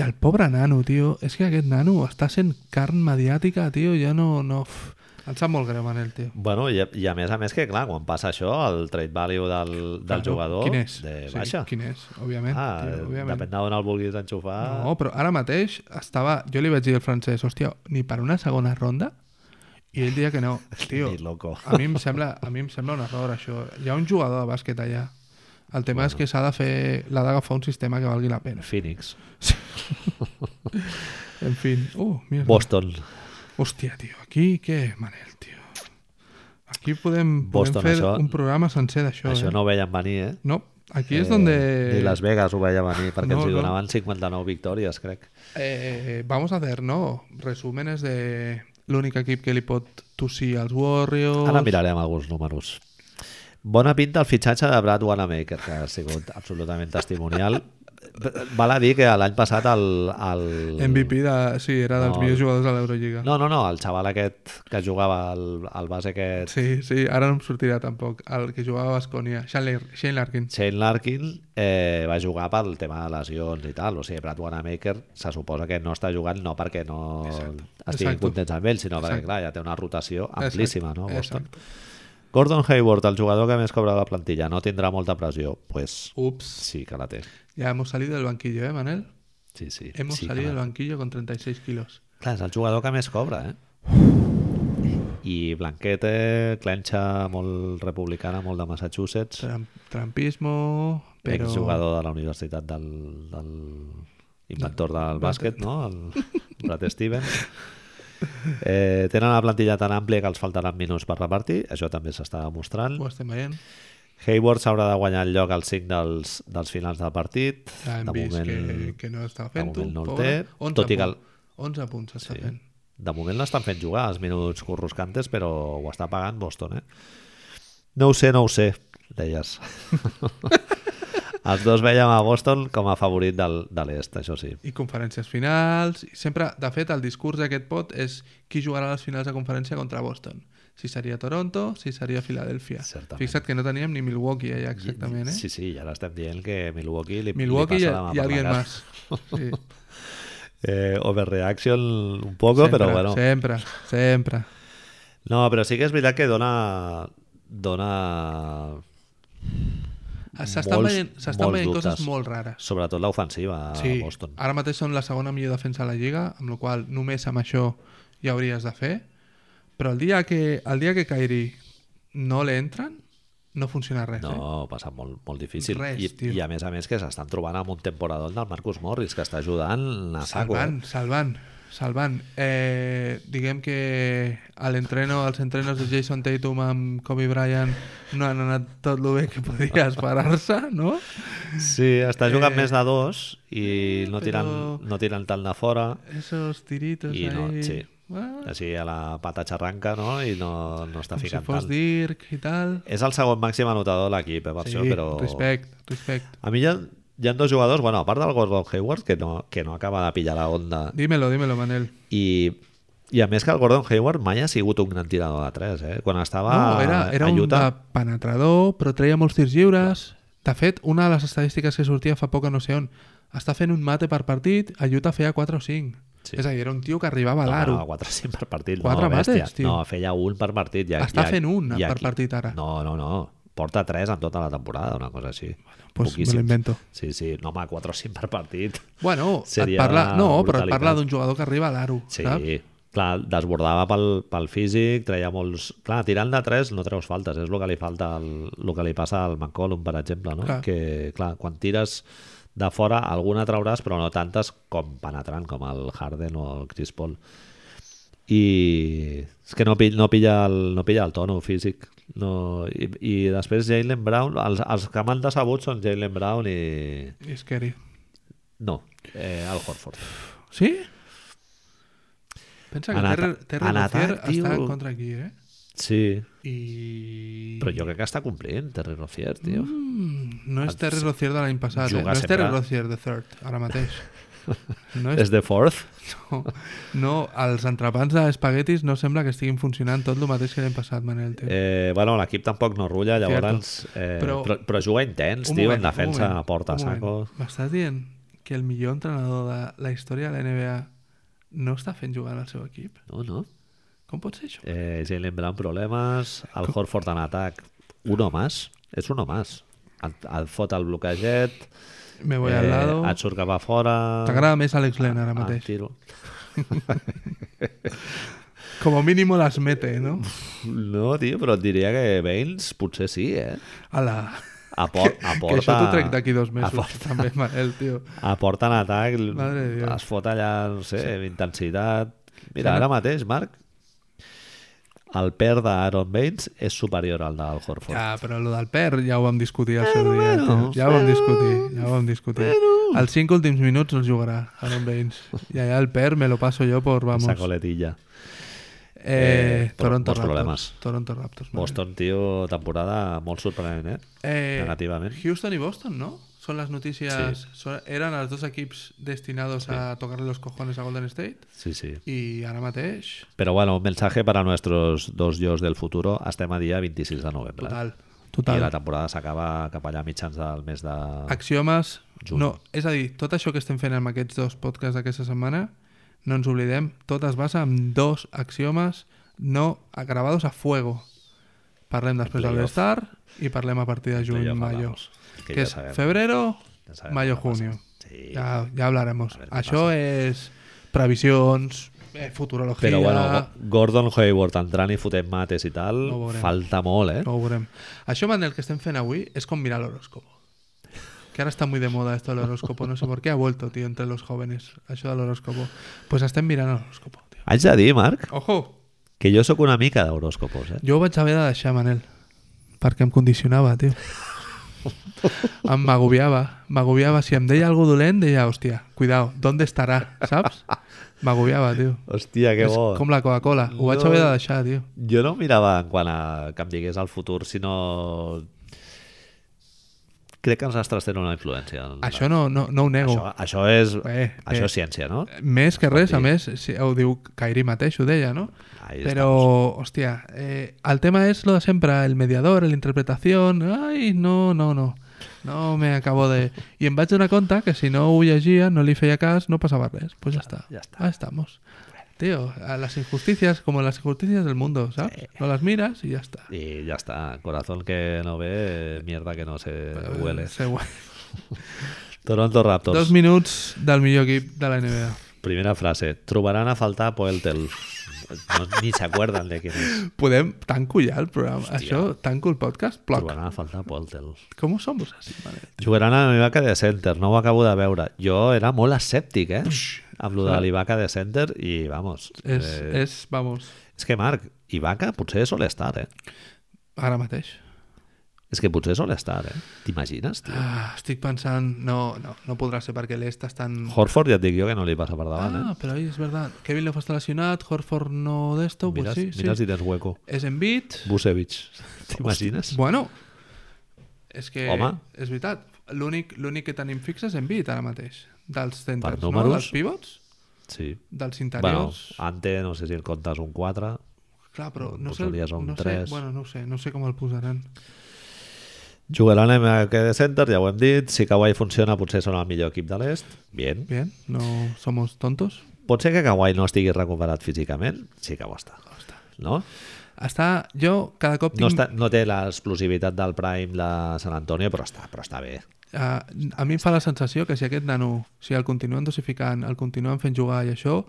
B: i el pobre nano, tio, és que aquest nano està sent carn mediàtica, tio, ja no... no... uf, Em sap molt greu, Manel, tio.
A: Bueno, i, a- i a més a més que, clar, quan passa això, el trade value del, del
B: Claro,
A: jugador
B: Quin és?
A: de baixa.
B: Sí, quin és, òbviament.
A: ah,
B: tio, òbviament.
A: depèn d'on el vulguis enxufar.
B: No, però ara mateix estava... Jo li vaig dir al francès, hòstia, ni per una segona ronda? I ell deia que no. Tio,
A: Ni loco.
B: a mi, em sembla, a mi em sembla un error, això. Hi ha un jugador de bàsquet allà. El tema bueno. és que s'ha de fer... L'ha d'agafar un sistema que valgui la pena.
A: Phoenix.
B: En fi. Uh, mira.
A: Boston.
B: Hòstia, tio, aquí què, Manel, tio? Aquí podem, podem
A: Boston,
B: fer
A: això-
B: un programa sencer d'això,
A: Això
B: eh?
A: no ho veien venir, eh?
B: No, aquí és
A: Eh,
B: on...
A: Ni Las Vegas ho veia venir, perquè
B: No,
A: ens hi
B: no.
A: donaven 59 victòries, crec.
B: Eh, vamos a hacer, ¿no? Resúmenes de l'únic equip que li pot tossir als Warriors...
A: Ara mirarem alguns números. Bona pinta el fitxatge de Brad Wanamaker, que ha sigut absolutament testimonial. Val a dir que l'any passat el, el...
B: MVP de... Sí, era dels
A: No,
B: millors jugadors de l'Eurolliga.
A: No, no, no, el xaval aquest que jugava al, al base aquest,
B: Sí, sí, ara no em sortirà tampoc. El que jugava a Bascònia, Shane, Lar- Shane Larkin.
A: Shane Larkin, eh, va jugar pel tema de lesions i tal. O sigui, Brad Wanamaker se suposa que no està jugant no perquè no estiguin
B: Exacto.
A: contents amb ell, sinó perquè,
B: Exacte.
A: clar, ja té una rotació amplíssima, Ah, no? Boston.
B: Exacte.
A: Gordon Hayward, el jugador que més cobra la plantilla, no tindrà molta pressió. Doncs pues,
B: Ups.
A: sí que la té.
B: Ya hemos salido del banquillo, ¿eh, Manel?
A: Sí, sí.
B: Hemos
A: sí que
B: salido
A: la-
B: del banquillo con 36 kilos.
A: Clar, és el jugador que més cobra, eh? I Blanquete, clenxa molt republicana, molt de Massachusetts,
B: Tram- trampismo,
A: però...
B: pero...
A: exjugador de la universitat del, del inventor del bàsquet, no? El Brad Stevens. Eh, tenen la plantilla tan àmplia que els faltaran minuts per repartir, això també s'està demostrant.
B: Ho estem veient.
A: Hayward s'haurà de guanyar el lloc al 5 dels, dels finals del partit.
B: Ja hem
A: de
B: vist
A: moment,
B: que, que no està fent-ho.
A: moment no el
B: pobre.
A: té,
B: 11
A: tot i que el-
B: punts. 11 punts està fent.
A: De moment l'estan fent jugar els minuts corruscantes, però ho està pagant Boston, eh? No ho sé, no ho sé, deies. els dos vèiem a Boston com a favorit del, de l'est, això sí.
B: i conferències finals i sempre, de fet, el discurs d'aquest pot és qui jugarà a les finals de conferència contra Boston si seria Toronto, si seria Filadèlfia
A: Certament.
B: fixa't que no teníem ni Milwaukee allà exactament eh?
A: Sí, sí, ja l'estem dient que Milwaukee li,
B: Milwaukee
A: li
B: i,
A: passa la mà per
B: i
A: la
B: alguien
A: cara.
B: más sí,
A: Eh, overreaction un poco,
B: sempre,
A: però bueno.
B: sempre, sempre
A: No, però sí que és veritat que dona... dona
B: s'estan
A: Molts-
B: veient, s'estan
A: molts
B: veient coses
A: dubtes.
B: molt rares
A: sobretot l'ofensiva a
B: sí,
A: Boston.
B: ara mateix són la segona millor defensa de la Lliga amb la qual cosa només amb això ja hauries de fer però el dia que, el dia que Kyrie no l'entren no funciona res eh?
A: No, passa molt, molt difícil.
B: Res,
A: I,
B: tio.
A: I a més a més que s'estan trobant amb un temporador del Marcus Morris, que està ajudant a saco. eh?
B: Salvant, salvant, salvant. Eh, diguem que a l'entreno, els entrenos de Jason Tatum amb Kobe Bryant no han anat tot el bé que podia esperar-se, no?
A: Sí, està jugant
B: Eh,
A: més de dos i no
B: però-
A: tiren, no tiren tant de fora.
B: Esos tiritos
A: I no,
B: ahí...
A: sí.
B: Ah,
A: Així a la pata xarranca, no? I no, no està
B: com si
A: ficant
B: fos
A: tant.
B: Dirk i tal.
A: És el segon màxim anotador de l'equip, eh, per
B: Sí,
A: això, però...
B: respect, respect.
A: A mi ja, hi ha dos jugadors, bueno, a part del Gordon Hayward, que no, que no acaba de pillar la onda,
B: Dímelo, dímelo, Manel.
A: i, i a més que el Gordon Hayward mai ha sigut un gran tirador de 3, eh? Quan estava
B: no, era, era
A: a
B: un
A: Utah...
B: de penetrador, però treia molts tirs lliures. De fet, una de les estadístiques que sortia fa poc a no sé on, està fent un mate per partit, a Utah feia 4 o 5.
A: Sí.
B: Sí. És a dir, era un tio que arribava a
A: No,
B: l'aro.
A: no, 4 5 per partit. no,
B: Quatre
A: bèstia.
B: mates, tio.
A: No, feia un per partit. Ja,
B: Està
A: ja,
B: fent un
A: ja
B: per
A: aquí-
B: partit ara.
A: No, no, no. Porta 3 en tota la temporada, una cosa així. Bueno,
B: pues doncs me l'invento.
A: Sí, sí. No, home, 4 o 5 per partit.
B: Bueno, et
A: Seria
B: parla... No, però et
A: brutalitat.
B: parla d'un jugador que arriba a l'aro,
A: Sí,
B: saps?
A: clar, desbordava pel, pel físic, treia molts... Clar, tirant de 3 no treus faltes, és el que li falta, el, el que li passa al McCollum, per exemple, no?
B: Clar.
A: Que, clar, quan tires de fora, alguna trauràs, però no tantes com penetrant, com el Harden o el Chris Paul. i és que no, pi- no, pilla, el, no pilla el tono físic no, i, i després Jalen Brown els, els que m'han decebut són Jalen Brown i
B: I és que...
A: no, eh, el Horford
B: Sí? Pensa que
A: En ata-
B: Terry, Terry
A: en
B: Rozier
A: atac, tio.
B: està en contra aquí, eh?
A: sí,
B: I...
A: però jo crec que està complint Terry Rozier, tio
B: Mm, no és Terry Rozier de l'any passat, eh?
A: Jugar
B: No és Terry
A: sempre-
B: Rozier de third, ara mateix. No és
A: és de fourth
B: No, no, els entrepans d'espaguetis no sembla que estiguin funcionant tot el mateix que l'hem passat, Manel. Tio.
A: eh, bueno, l'equip tampoc no rulla llavors eh, però,
B: Però-
A: però, però juga intens, tio, en defensa
B: moment,
A: porta a
B: un
A: saco
B: moment. M'estàs dient que el millor entrenador de la història de la NBA no està fent jugar al seu equip?
A: no, no
B: Com pot ser això?
A: Eh, Jalen Brown problemes, el Horford en atac, uno más, és uno más. Et, et fot el bloqueget,
B: Me voy al lado.
A: eh, et surt cap a fora... Ah,
B: T'agrada més Alex Len ara
A: et
B: mateix.
A: Tiro.
B: Com a mínim les mete, no?
A: No, tio, però et diria que Baines potser sí, eh?
B: Ala.
A: Apor
B: Que
A: aporta...
B: això t'ho trec d'aquí dos mesos,
A: Aporta,
B: també, Manel, tio.
A: aporta en Ah, atac, l-
B: Madre de Dios.
A: es fot allà, no sé, sí. intensitat... Mira,
B: Sembla-
A: ara mateix, Marc, el per d'Aaron Baines és superior al del Horford.
B: Ja, però el del per ja ho vam discutir al seu dia. tio. ja ho vam discutir, ja ho vam discutir. Els cinc últims minuts els jugarà Aaron Baines. I allà el per me lo passo jo por, vamos.
A: Esa coletilla.
B: Eh,
A: Eh, però
B: Toronto
A: molts
B: Raptors.
A: problemes.
B: Toronto Raptors. molt
A: Boston, tio, temporada molt sorprenent, eh?
B: bé. Eh,
A: negativament.
B: Houston i Boston, no? Són les notícies...
A: Sí.
B: Són, eren els dos equips destinados a tocarle los cojones a Golden State
A: Sí, sí.
B: i ara mateix...
A: Pero bueno, un mensaje para nuestros dos dios del futuro. Estem a dia 26 de novembre.
B: Total.
A: I
B: Total.
A: la temporada s'acaba cap allà a mitjans del mes de...
B: Axiomes...
A: Juny.
B: No, és a dir, tot això que estem fent amb aquests dos podcasts d'aquesta setmana, no ens oblidem, tot es basa en dos axiomes no agravados a fuego. Parlem després de
A: Playoff.
B: l'Star i parlem a partir de
A: Playoff,
B: juny-maio.
A: hablamos, que
B: Que,
A: ja
B: és
A: sabem.
B: febrero,
A: Ja sabem què passa.
B: mayo-junio.
A: Sí.
B: Ja, ja hablaremos.
A: ver què
B: Això és previsions, eh, futurologia...
A: Però bueno, Go- Gordon Hayward entrant i fotent mates i tal,
B: No ho veurem.
A: falta molt, eh?
B: No ho veurem. Això, Manel, que estem fent avui és com mirar l'horòscopo. Que ara està muy de moda esto del horóscopo. No sé por qué ha vuelto, tío, entre los jóvenes. Això de l'horòscopo. Pues estem mirant l'horòscopo, tío.
A: Haig de dir, Marc,
B: Ojo!
A: que jo sóc una mica d'horòscopos, eh?
B: Jo ho vaig haver de deixar, Manel. Perquè em condicionava, tio. Em m'agobiava. M'agobiava. Si em deia algo dolent, deia, hòstia, cuidao, ¿dónde estarà? Saps? M'agobiava, tio.
A: Hòstia, que
B: És
A: bo.
B: com la Coca-Cola. Ho vaig
A: No.
B: haver de deixar, tio.
A: Jo no mirava en quant a que em digués el futur, sinó... Crec que els astres tenen una influència. en-
B: Això no, no, no ho nego.
A: això, això és...
B: Eh,
A: això
B: eh.
A: és ciència, no?
B: Més que res, a
A: dir.
B: més, si ho diu Kairi mateix, ho deia, no?
A: Ahí
B: Però, hòstia, eh, el tema és lo de sempre, el mediador, la interpretació... Ai, no, no, no. No me acabo de... I em vaig donar compte que si no ho llegia, no li feia cas, no passava res. Pues ja, està.
A: ja està.
B: Ahí estamos. Tío, a las injusticias, como las injusticias del mundo, ¿sabes? No las miras y ya está.
A: I ja està. Corazón que no ve, mierda que no se huele.
B: Se hue-
A: Toronto Raptors.
B: Pues, Eh, Dos minuts del millor equip de la NBA.
A: Primera frase. Trobaran a faltar Poeltel. No, ni s'acuerden de quin és.
B: Podem... Tanco ja el programa. Això, tanco el podcast, ploc.
A: Trobaran a faltar Poeltel.
B: Com ho som vosaltres? Vale.
A: Jugaran a l'Ivaca de Center, no ho acabo de veure. Jo era molt escèptic, eh? Amb lo de l'Ivaca de Center i, vamos...
B: És,
A: eh,
B: eh... és, vamos,
A: És que, Marc, Ibaka potser sol estar, eh?
B: ara mateix.
A: És que potser sol estar, eh? T'imagines, tio?
B: Ah, estic pensant... No, no, no podrà ser perquè l'est estan...
A: Horford ja et dic jo que no li passa per davant,
B: Ah, però oi, és verdad. Kevin Love està lesionat, Horford no
A: eh?
B: d'esto,
A: Mira,
B: pues sí, sí.
A: mira si tens hueco.
B: És en bit. Pues,
A: Busevich. T'imagines?
B: Bueno, és que...
A: Home.
B: És veritat. L'únic l'únic que tenim fix és Embiid ara mateix, dels centres, no?
A: números?
B: Dels pivots,
A: Sí.
B: dels
A: Bueno,
B: interiors...
A: Ante, no sé si el comptes un 4.
B: Clar, però no sé,
A: posaries doncs un
B: no sé,
A: tres.
B: bueno, no ho sé, no sé com el posaran.
A: Jugaran amb aquest center, ja ho hem dit. Si Kawhi funciona, potser són el millor equip de l'est. Bien.
B: Bien, no somos tontos.
A: Pot ser que Kawhi no estigui recuperat físicament? Sí que ho està. No?
B: Està, jo cada cop tinc...
A: No, està, no té l'explosivitat del Prime de San Antonio, però està, però està bé.
B: a, Eh, a mi em fa la sensació que si aquest nano, si el continuen dosificant, el continuen fent jugar i això,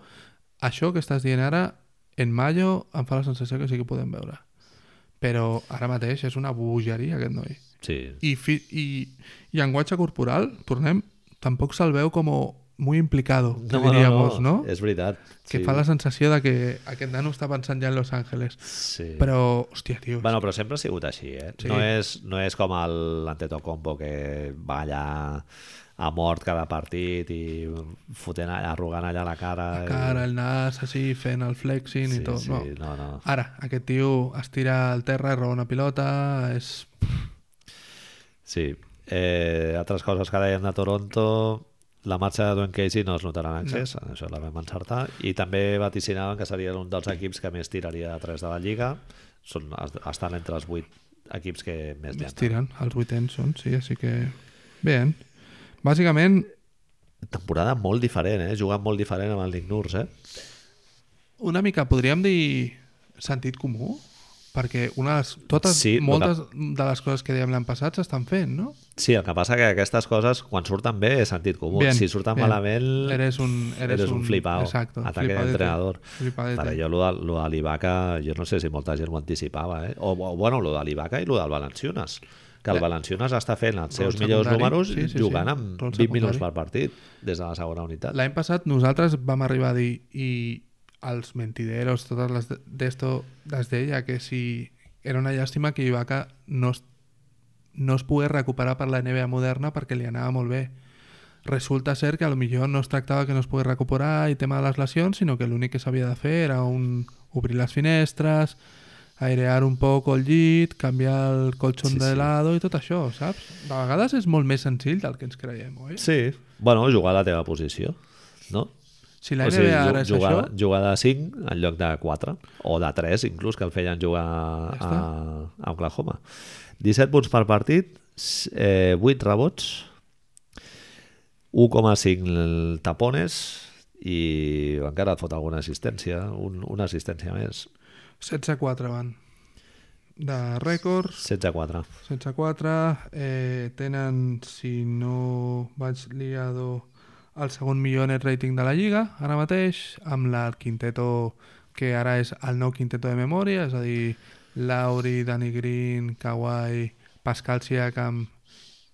B: això que estàs dient ara, en mayo em fa la sensació que sí que ho podem veure. Però ara mateix és una bogeria aquest noi.
A: Sí.
B: I, fi, i, i llenguatge corporal, tornem, tampoc se'l veu com muy implicado, no, diríamos, no?
A: És veritat.
B: Que fa la sensació de que aquest nano està pensant ja en Los Ángeles.
A: Sí.
B: Però, hòstia, tio,
A: Bueno, però sempre ha sigut així, eh? Sí.
B: Sí.
A: No, és, no és com el- l'Antetokounmpo que va allà a mort cada partit i fotent allà, arrugant allà la cara.
B: la cara, el nas, així, fent el flexing
A: eh. sí,
B: i tot.
A: sí,
B: no.
A: no, no.
B: Ara, aquest tio es tira al terra, roba una pilota, és...
A: Sí. Eh, altres coses que dèiem de Toronto, la marxa de Dwayne Casey no es notarà en accés, no. això la vam encertar, i també vaticinaven que seria un dels equips que més tiraria de 3 de la Lliga, Són, es- estan entre els 8 equips que més
B: es
A: llancen.
B: tiren, els vuitens són, sí, així que... Bé, bàsicament,
A: Temporada molt diferent, eh? Jugant molt diferent amb el Nick Nurse, eh?
B: una mica, podríem dir sentit comú, perquè una de les, totes,
A: Sí,
B: sí,
A: lo
B: moltes de les coses que dèiem l'any passat s'estan fent, no?
A: Sí, el que passa que aquestes coses, quan surten bé, és sentit comú.
B: Bien,
A: si surten
B: bien.
A: malament,
B: Eres un- eres
A: Mm. eres un,
B: un-
A: flipao.
B: exacto,
A: Ataque
B: flipadete,
A: d'entrenador.
B: flipadete.
A: Vale, jo, lo de, lo de l'Ibaka, jo no sé si molta gent ho anticipava, eh? O, o bueno, lo de l'Ibaka i lo del Valenciunes. Que el Valenciunes està fent els seus
B: Rol
A: millors
B: secundari,
A: números
B: sí, sí, sí.
A: jugant amb
B: Rol
A: 20 minuts per
B: secundari.
A: partit des de la segona unitat.
B: L'any passat nosaltres vam arribar a dir i els mentideros, totes les d- d'esto, les deia que si era una llàstima que Ibaka no es, no es pogués recuperar per la NBA moderna perquè li anava molt bé. Resulta ser que a lo millor no es tractava que no es pogués recuperar i tema de les lesions, sinó que l'únic que s'havia de fer era un, obrir les finestres, airear un poc el llit, canviar el colxon
A: Sí,
B: sí, de
A: sí.
B: lado i tot això, saps? De vegades és molt més senzill del que ens creiem, oi?
A: Sí. Bueno, jugar a la teva posició, no?
B: Si la
A: o
B: NBA
A: sigui, ju-
B: ara és
A: jugar,
B: això...
A: jugar de 5 en lloc de 4 o de 3 inclús que el feien jugar
B: Ja
A: a, a Oklahoma 17 punts per partit s- eh, 8 rebots 1,5 tapones i encara et fot alguna assistència un, una assistència més
B: 16-4 van. De rècords,
A: 16-4
B: 16-4, eh, tenen, si no vaig liado, el segon millor net rating de la Lliga, ara mateix, amb la- el quinteto, que ara és el nou quinteto de memòria, és a dir, Lauri, Danny Green, Kawhi, Pascal Siakam,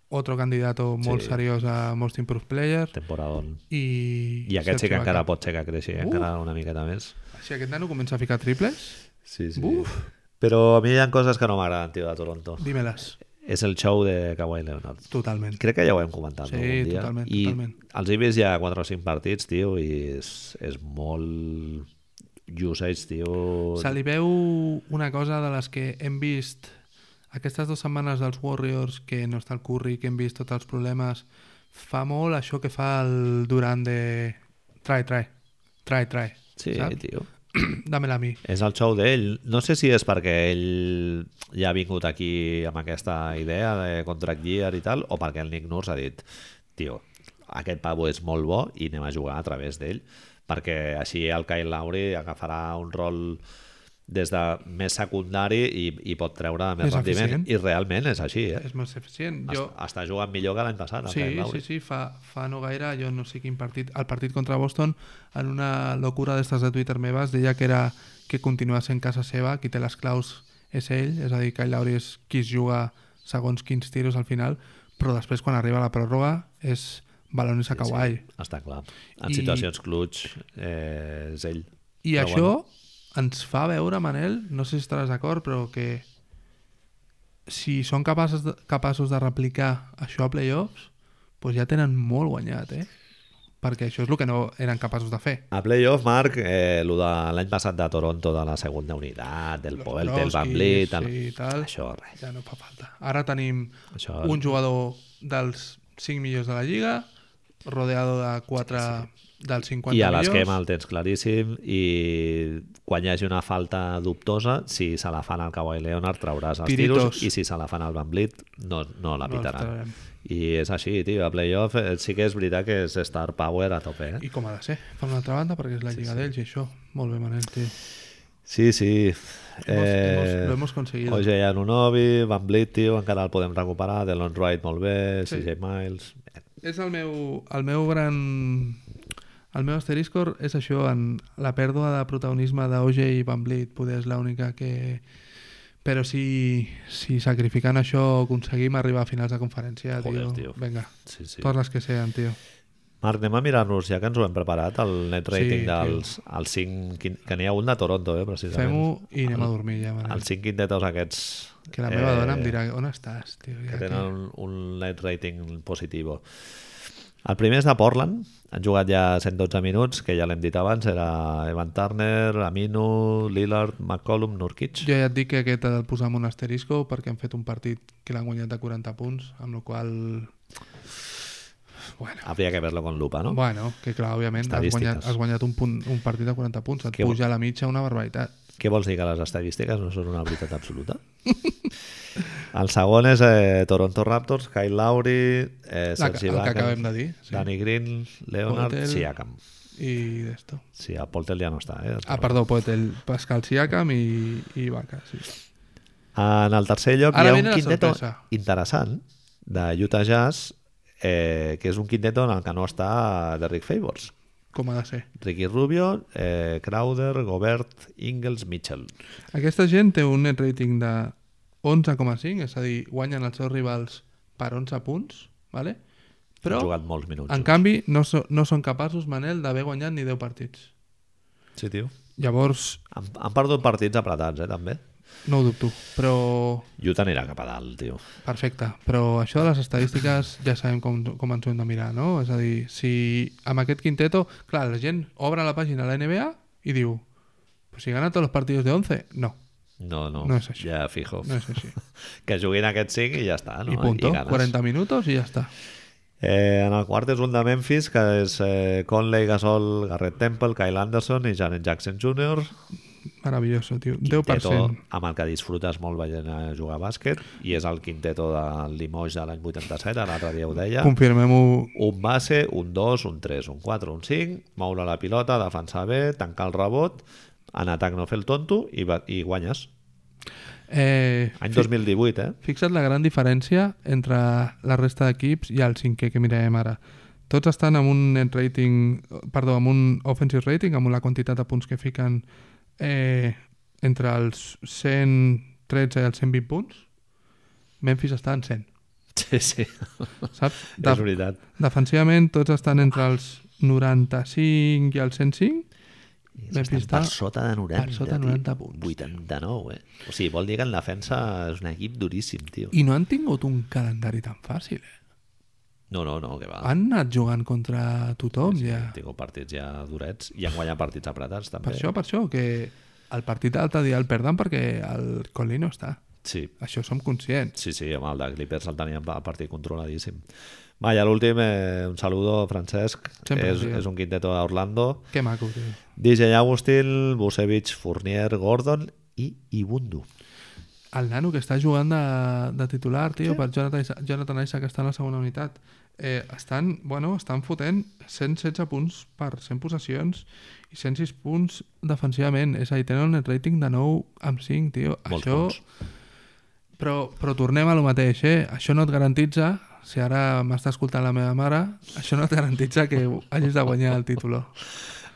B: otro candidato molt
A: Sí.
B: seriós a Most Improved Player,
A: temporadon
B: i...
A: i aquest sí que
B: Serge
A: encara
B: Ibaka.
A: pot ser que creixi
B: Uf.
A: encara una miqueta més
B: Si aquest nano comença a ficar triples,
A: sí, sí.
B: Uf.
A: però a mi hi ha coses que no m'agraden tio de Toronto
B: dímeles.
A: és el show de Kawhi Leonard
B: Totalment.
A: Crec que ja ho hem comentat
B: Sí,
A: algun dia.
B: totalment,
A: I
B: totalment.
A: els he vist ja 4 o 5 partits, tio, i és, és molt usage, tio.
B: Se li veu una cosa de les que hem vist aquestes dues setmanes dels Warriors, que no està el Curry, que hem vist tots els problemes, fa molt això que fa el Durant de... Try, try, try, try.
A: Sí,
B: saps?
A: tio.
B: Dame-la a mi.
A: És el show d'ell. No sé si és perquè ell ja ha vingut aquí amb aquesta idea de contract year i tal, o perquè el Nick Nurse ha dit, tio, aquest pavo és molt bo i anem a jugar a través d'ell, perquè així el Kyle Lowry agafarà un rol des de més secundari i, i pot treure més,
B: Més
A: rendiment.
B: eficient.
A: I realment és així, eh?
B: És més eficient.
A: Jo...
B: Jo,
A: Està jugant millor que l'any passat. el Kyle
B: sí,
A: Lowry.
B: sí, sí, fa, fa no gaire, jo no sé quin partit, el partit contra Boston, en una locura d'estes de Twitter meves, deia que era que continua sent casa seva, qui té les claus és ell, és a dir, Kyle Lowry és qui es juga segons quins tiros al final, però després quan arriba la pròrroga és balones a Kawhi.
A: Està clar. En
B: I-
A: I... situacions clutch eh, és ell.
B: I
A: Però
B: això
A: bueno.
B: ens fa veure, Manel, no sé si estaràs d'acord, però que si són capaços de, capaços de replicar això a playoffs, doncs ja tenen molt guanyat, eh? perquè això és el que no eren capaços de fer.
A: A playoff, Marc, eh, lo de l'any passat de Toronto de la segona unitat, del
B: Los
A: Poel, del
B: Broskis,
A: Van Vliet... el-
B: sí, tal.
A: Això, res.
B: Ja no fa falta. Ara tenim
A: Això,
B: un jugador dels 5 millors de la Lliga, rodeado de 4 dels 50
A: I a
B: millors.
A: l'esquema el tens claríssim i quan hi hagi una falta dubtosa, si se la fan al Kawhi Leonard trauràs els
B: Tiritos.
A: tiros i si se la fan al Van Vliet no, no la
B: No els
A: pitaran.
B: traurem.
A: I és així, tio, a playoff eh, sí que és veritat que és star power a tope, eh?
B: I com ha de ser, per una altra banda, perquè és la Lliga d'ells i això. Molt bé, Manel, tio.
A: Sí, sí. Eh,
B: Hemos- hemos- lo hemos conseguido.
A: Oye, Anunobi, Van Vliet, tio, encara el podem recuperar, Delon Wright molt bé,
B: Sí.
A: CJ Miles... eh, Bé,
B: És el meu, el meu gran... El meu asterisco és això, en la pèrdua de protagonisme d'OJ i Van Vliet, poder és l'única que... Però si, si sacrificant això aconseguim arribar a finals de conferència,
A: Joder,
B: tio,
A: tio.
B: vinga,
A: Sí, sí.
B: sí. totes les que sean, tio.
A: Marc, anem a mirar-nos, ja que ens ho hem preparat, el net rating
B: Sí,
A: sí, dels els 5... Que n'hi ha un de Toronto, eh, precisament.
B: Fem-ho i anem a dormir ja, Manel.
A: Els 5 quintetos aquests... eh,
B: Que la meva dona em dirà, on estàs, tio? Ja,
A: Que
B: que-
A: tenen un, un net rating positivo. El primer és de Portland, han jugat ja 112 minuts, que ja l'hem dit abans, era Evan Turner, Aminu, Lillard, McCollum, Nurkic.
B: Jo ja et dic que aquest ha de posar amb un asterisco perquè hem fet un partit que l'han guanyat de 40 punts, amb la qual Bueno,
A: Habría que verlo con lupa, ¿no?
B: Bueno, que clar, òbviament, has
A: Estadístiques.
B: guanyat, has guanyat un, punt, un partit de 40 punts, et
A: Que bo.
B: puja la mitja una barbaritat.
A: Què vols dir, que les estadístiques no són una veritat absoluta? el segon és eh, Toronto Raptors, Kyle Lowry, eh,
B: La, que-
A: Sergi
B: el que acabem
A: Ibaka,
B: de dir. Sí.
A: Danny Green, Leonard,
B: Poeltl.
A: Siakam.
B: I d'esto.
A: Sí, el Poltel ja no està. Eh?
B: Ah, perdó, Poetel, Pascal Siakam i, i Vaca. Sí.
A: En el tercer lloc
B: Ara
A: hi ha
B: viene
A: un
B: la
A: quinteto
B: sorpresa.
A: interessant de Utah Jazz, eh, que és un quinteto en el que no està Derrick Favors.
B: Com ha de ser.
A: Ricky Rubio, eh, Crowder, Gobert, Ingles, Mitchell.
B: Aquesta gent té un net rating de 11,5, és a dir, guanyen els seus rivals per 11 punts, ¿vale? però
A: Han jugat molts minuts.
B: en canvi no, so, no són capaços, Manel, d'haver guanyat ni 10 partits.
A: Sí, tio.
B: Llavors,
A: Han, han perdut partits apretats, eh, també.
B: no ho dubto, però
A: Utah anirà cap a dalt, tio.
B: Perfecte, però això de les estadístiques ja sabem com, com ens ho hem de mirar, no? És a dir, si amb aquest quinteto... Clar, la gent obre la pàgina de la NBA i diu pues si gana tots els partits de 11, no,
A: No, no,
B: No és així.
A: ja fijo.
B: no és així.
A: Que juguin aquests 5 i ja està, Ah, no?
B: I punto,
A: ganes.
B: 40 minuts i ja està.
A: Eh, en el quart és un de Memphis, que és eh, Conley, Gasol, Garrett Temple, Kyle Anderson i Janet Jackson Jr.
B: Meravelloso, tio.
A: Quinteto
B: 10%.
A: amb el que disfrutes molt veient a jugar a bàsquet i és el quinteto del Limoges de l'any 87, l'altre dia ho deia.
B: Confirmem-ho.
A: Un base, un 2, un 3, un 4, un 5, moure la pilota, defensar bé, tancar el rebot, en atac no fer el tonto i, va- i guanyes.
B: Eh,
A: Any 2018, eh?
B: Fixa't la gran diferència entre la resta d'equips i el cinquè que mirem ara. Tots estan amb un net rating, perdó, amb un offensive rating, amb la quantitat de punts que fiquen eh, entre els 113 i els 120 punts. Memphis està en 100,
A: Sí, sí,
B: saps?
A: és
B: De,
A: veritat.
B: defensivament tots estan entre els 95 i els 105.
A: Estan
B: Memphis està...
A: per sota de 90.
B: per sota de
A: tio.
B: 90 punts.
A: 89, eh? O sigui, vol dir que en defensa és un equip duríssim, tio.
B: I no han tingut un calendari tan fàcil.
A: Ah.
B: Eh?
A: No, no, no, que va.
B: Han anat jugant contra tothom Ah, ja.
A: Tinc partits ja durets i han guanyat partits apretats, també.
B: Per això, per això, que el partit de l'altre dia el perden perquè el Conley no està.
A: Sí,
B: Això som conscients.
A: sí, sí, amb el de Clippers el tenien a partit controladíssim. Va, i a l'últim, eh, un saludo, Francesc.
B: Sempre,
A: és,
B: tio.
A: és un quinteto d'Orlando.
B: Que maco, tio.
A: DJ Agustil, Busevich, Fournier, Gordon i Ibundu.
B: El nano que està jugant de, de titular, tio, per Jonathan Isaac, Jonathan Isaac, que està en la segona unitat. Eh, estan, bueno, estan fotent 116 punts per 100 possessions i 106 punts defensivament. És a dir, tenen un net rating de 9 amb 5, tio.
A: Molts
B: això...
A: punts.
B: Però, però tornem a lo mateix, eh? Això no et garantitza, si ara m'està escoltant la meva mare, això no et garantitza que hagis de guanyar el títol.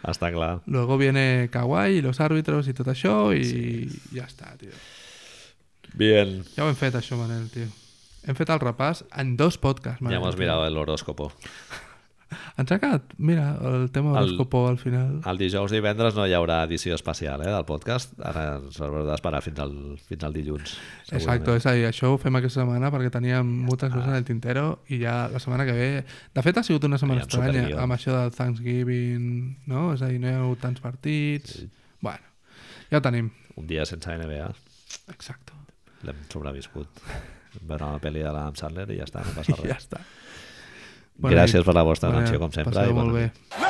A: Està clar.
B: Luego viene Kawhi, los árbitros y tot això i sí. ja està, tio.
A: Bien.
B: Ja ho hem fet, això, Manel, tio. Hem fet el repàs en dos podcasts,
A: Ja
B: Manel.
A: hemos mirado el horóscopo.
B: Ens ha quedat, mira, el tema de
A: El-
B: l'Escopó al final.
A: El dijous i divendres no hi haurà edició especial eh, del podcast. Ara ens haurà d'esperar fins, al, fins al dilluns. segurament.
B: Exacto, és a dir, això ho fem aquesta setmana perquè teníem moltes coses en el tintero i ja la setmana que ve... De fet, ha sigut una setmana
A: Teníem
B: estranya
A: superguió.
B: amb això del Thanksgiving, no? És a dir, no hi ha hagut tants partits... Bueno, ja ho tenim.
A: Un dia sense NBA
B: Exacte.
A: l'hem sobreviscut. Vam Veure una pel·li de l'Adam Sandler i ja està, no passa
B: I
A: res.
B: ja està.
A: Gràcies per la vostra atenció, com sempre,
B: passeu
A: i
B: molt
A: bona
B: bé.
A: nit.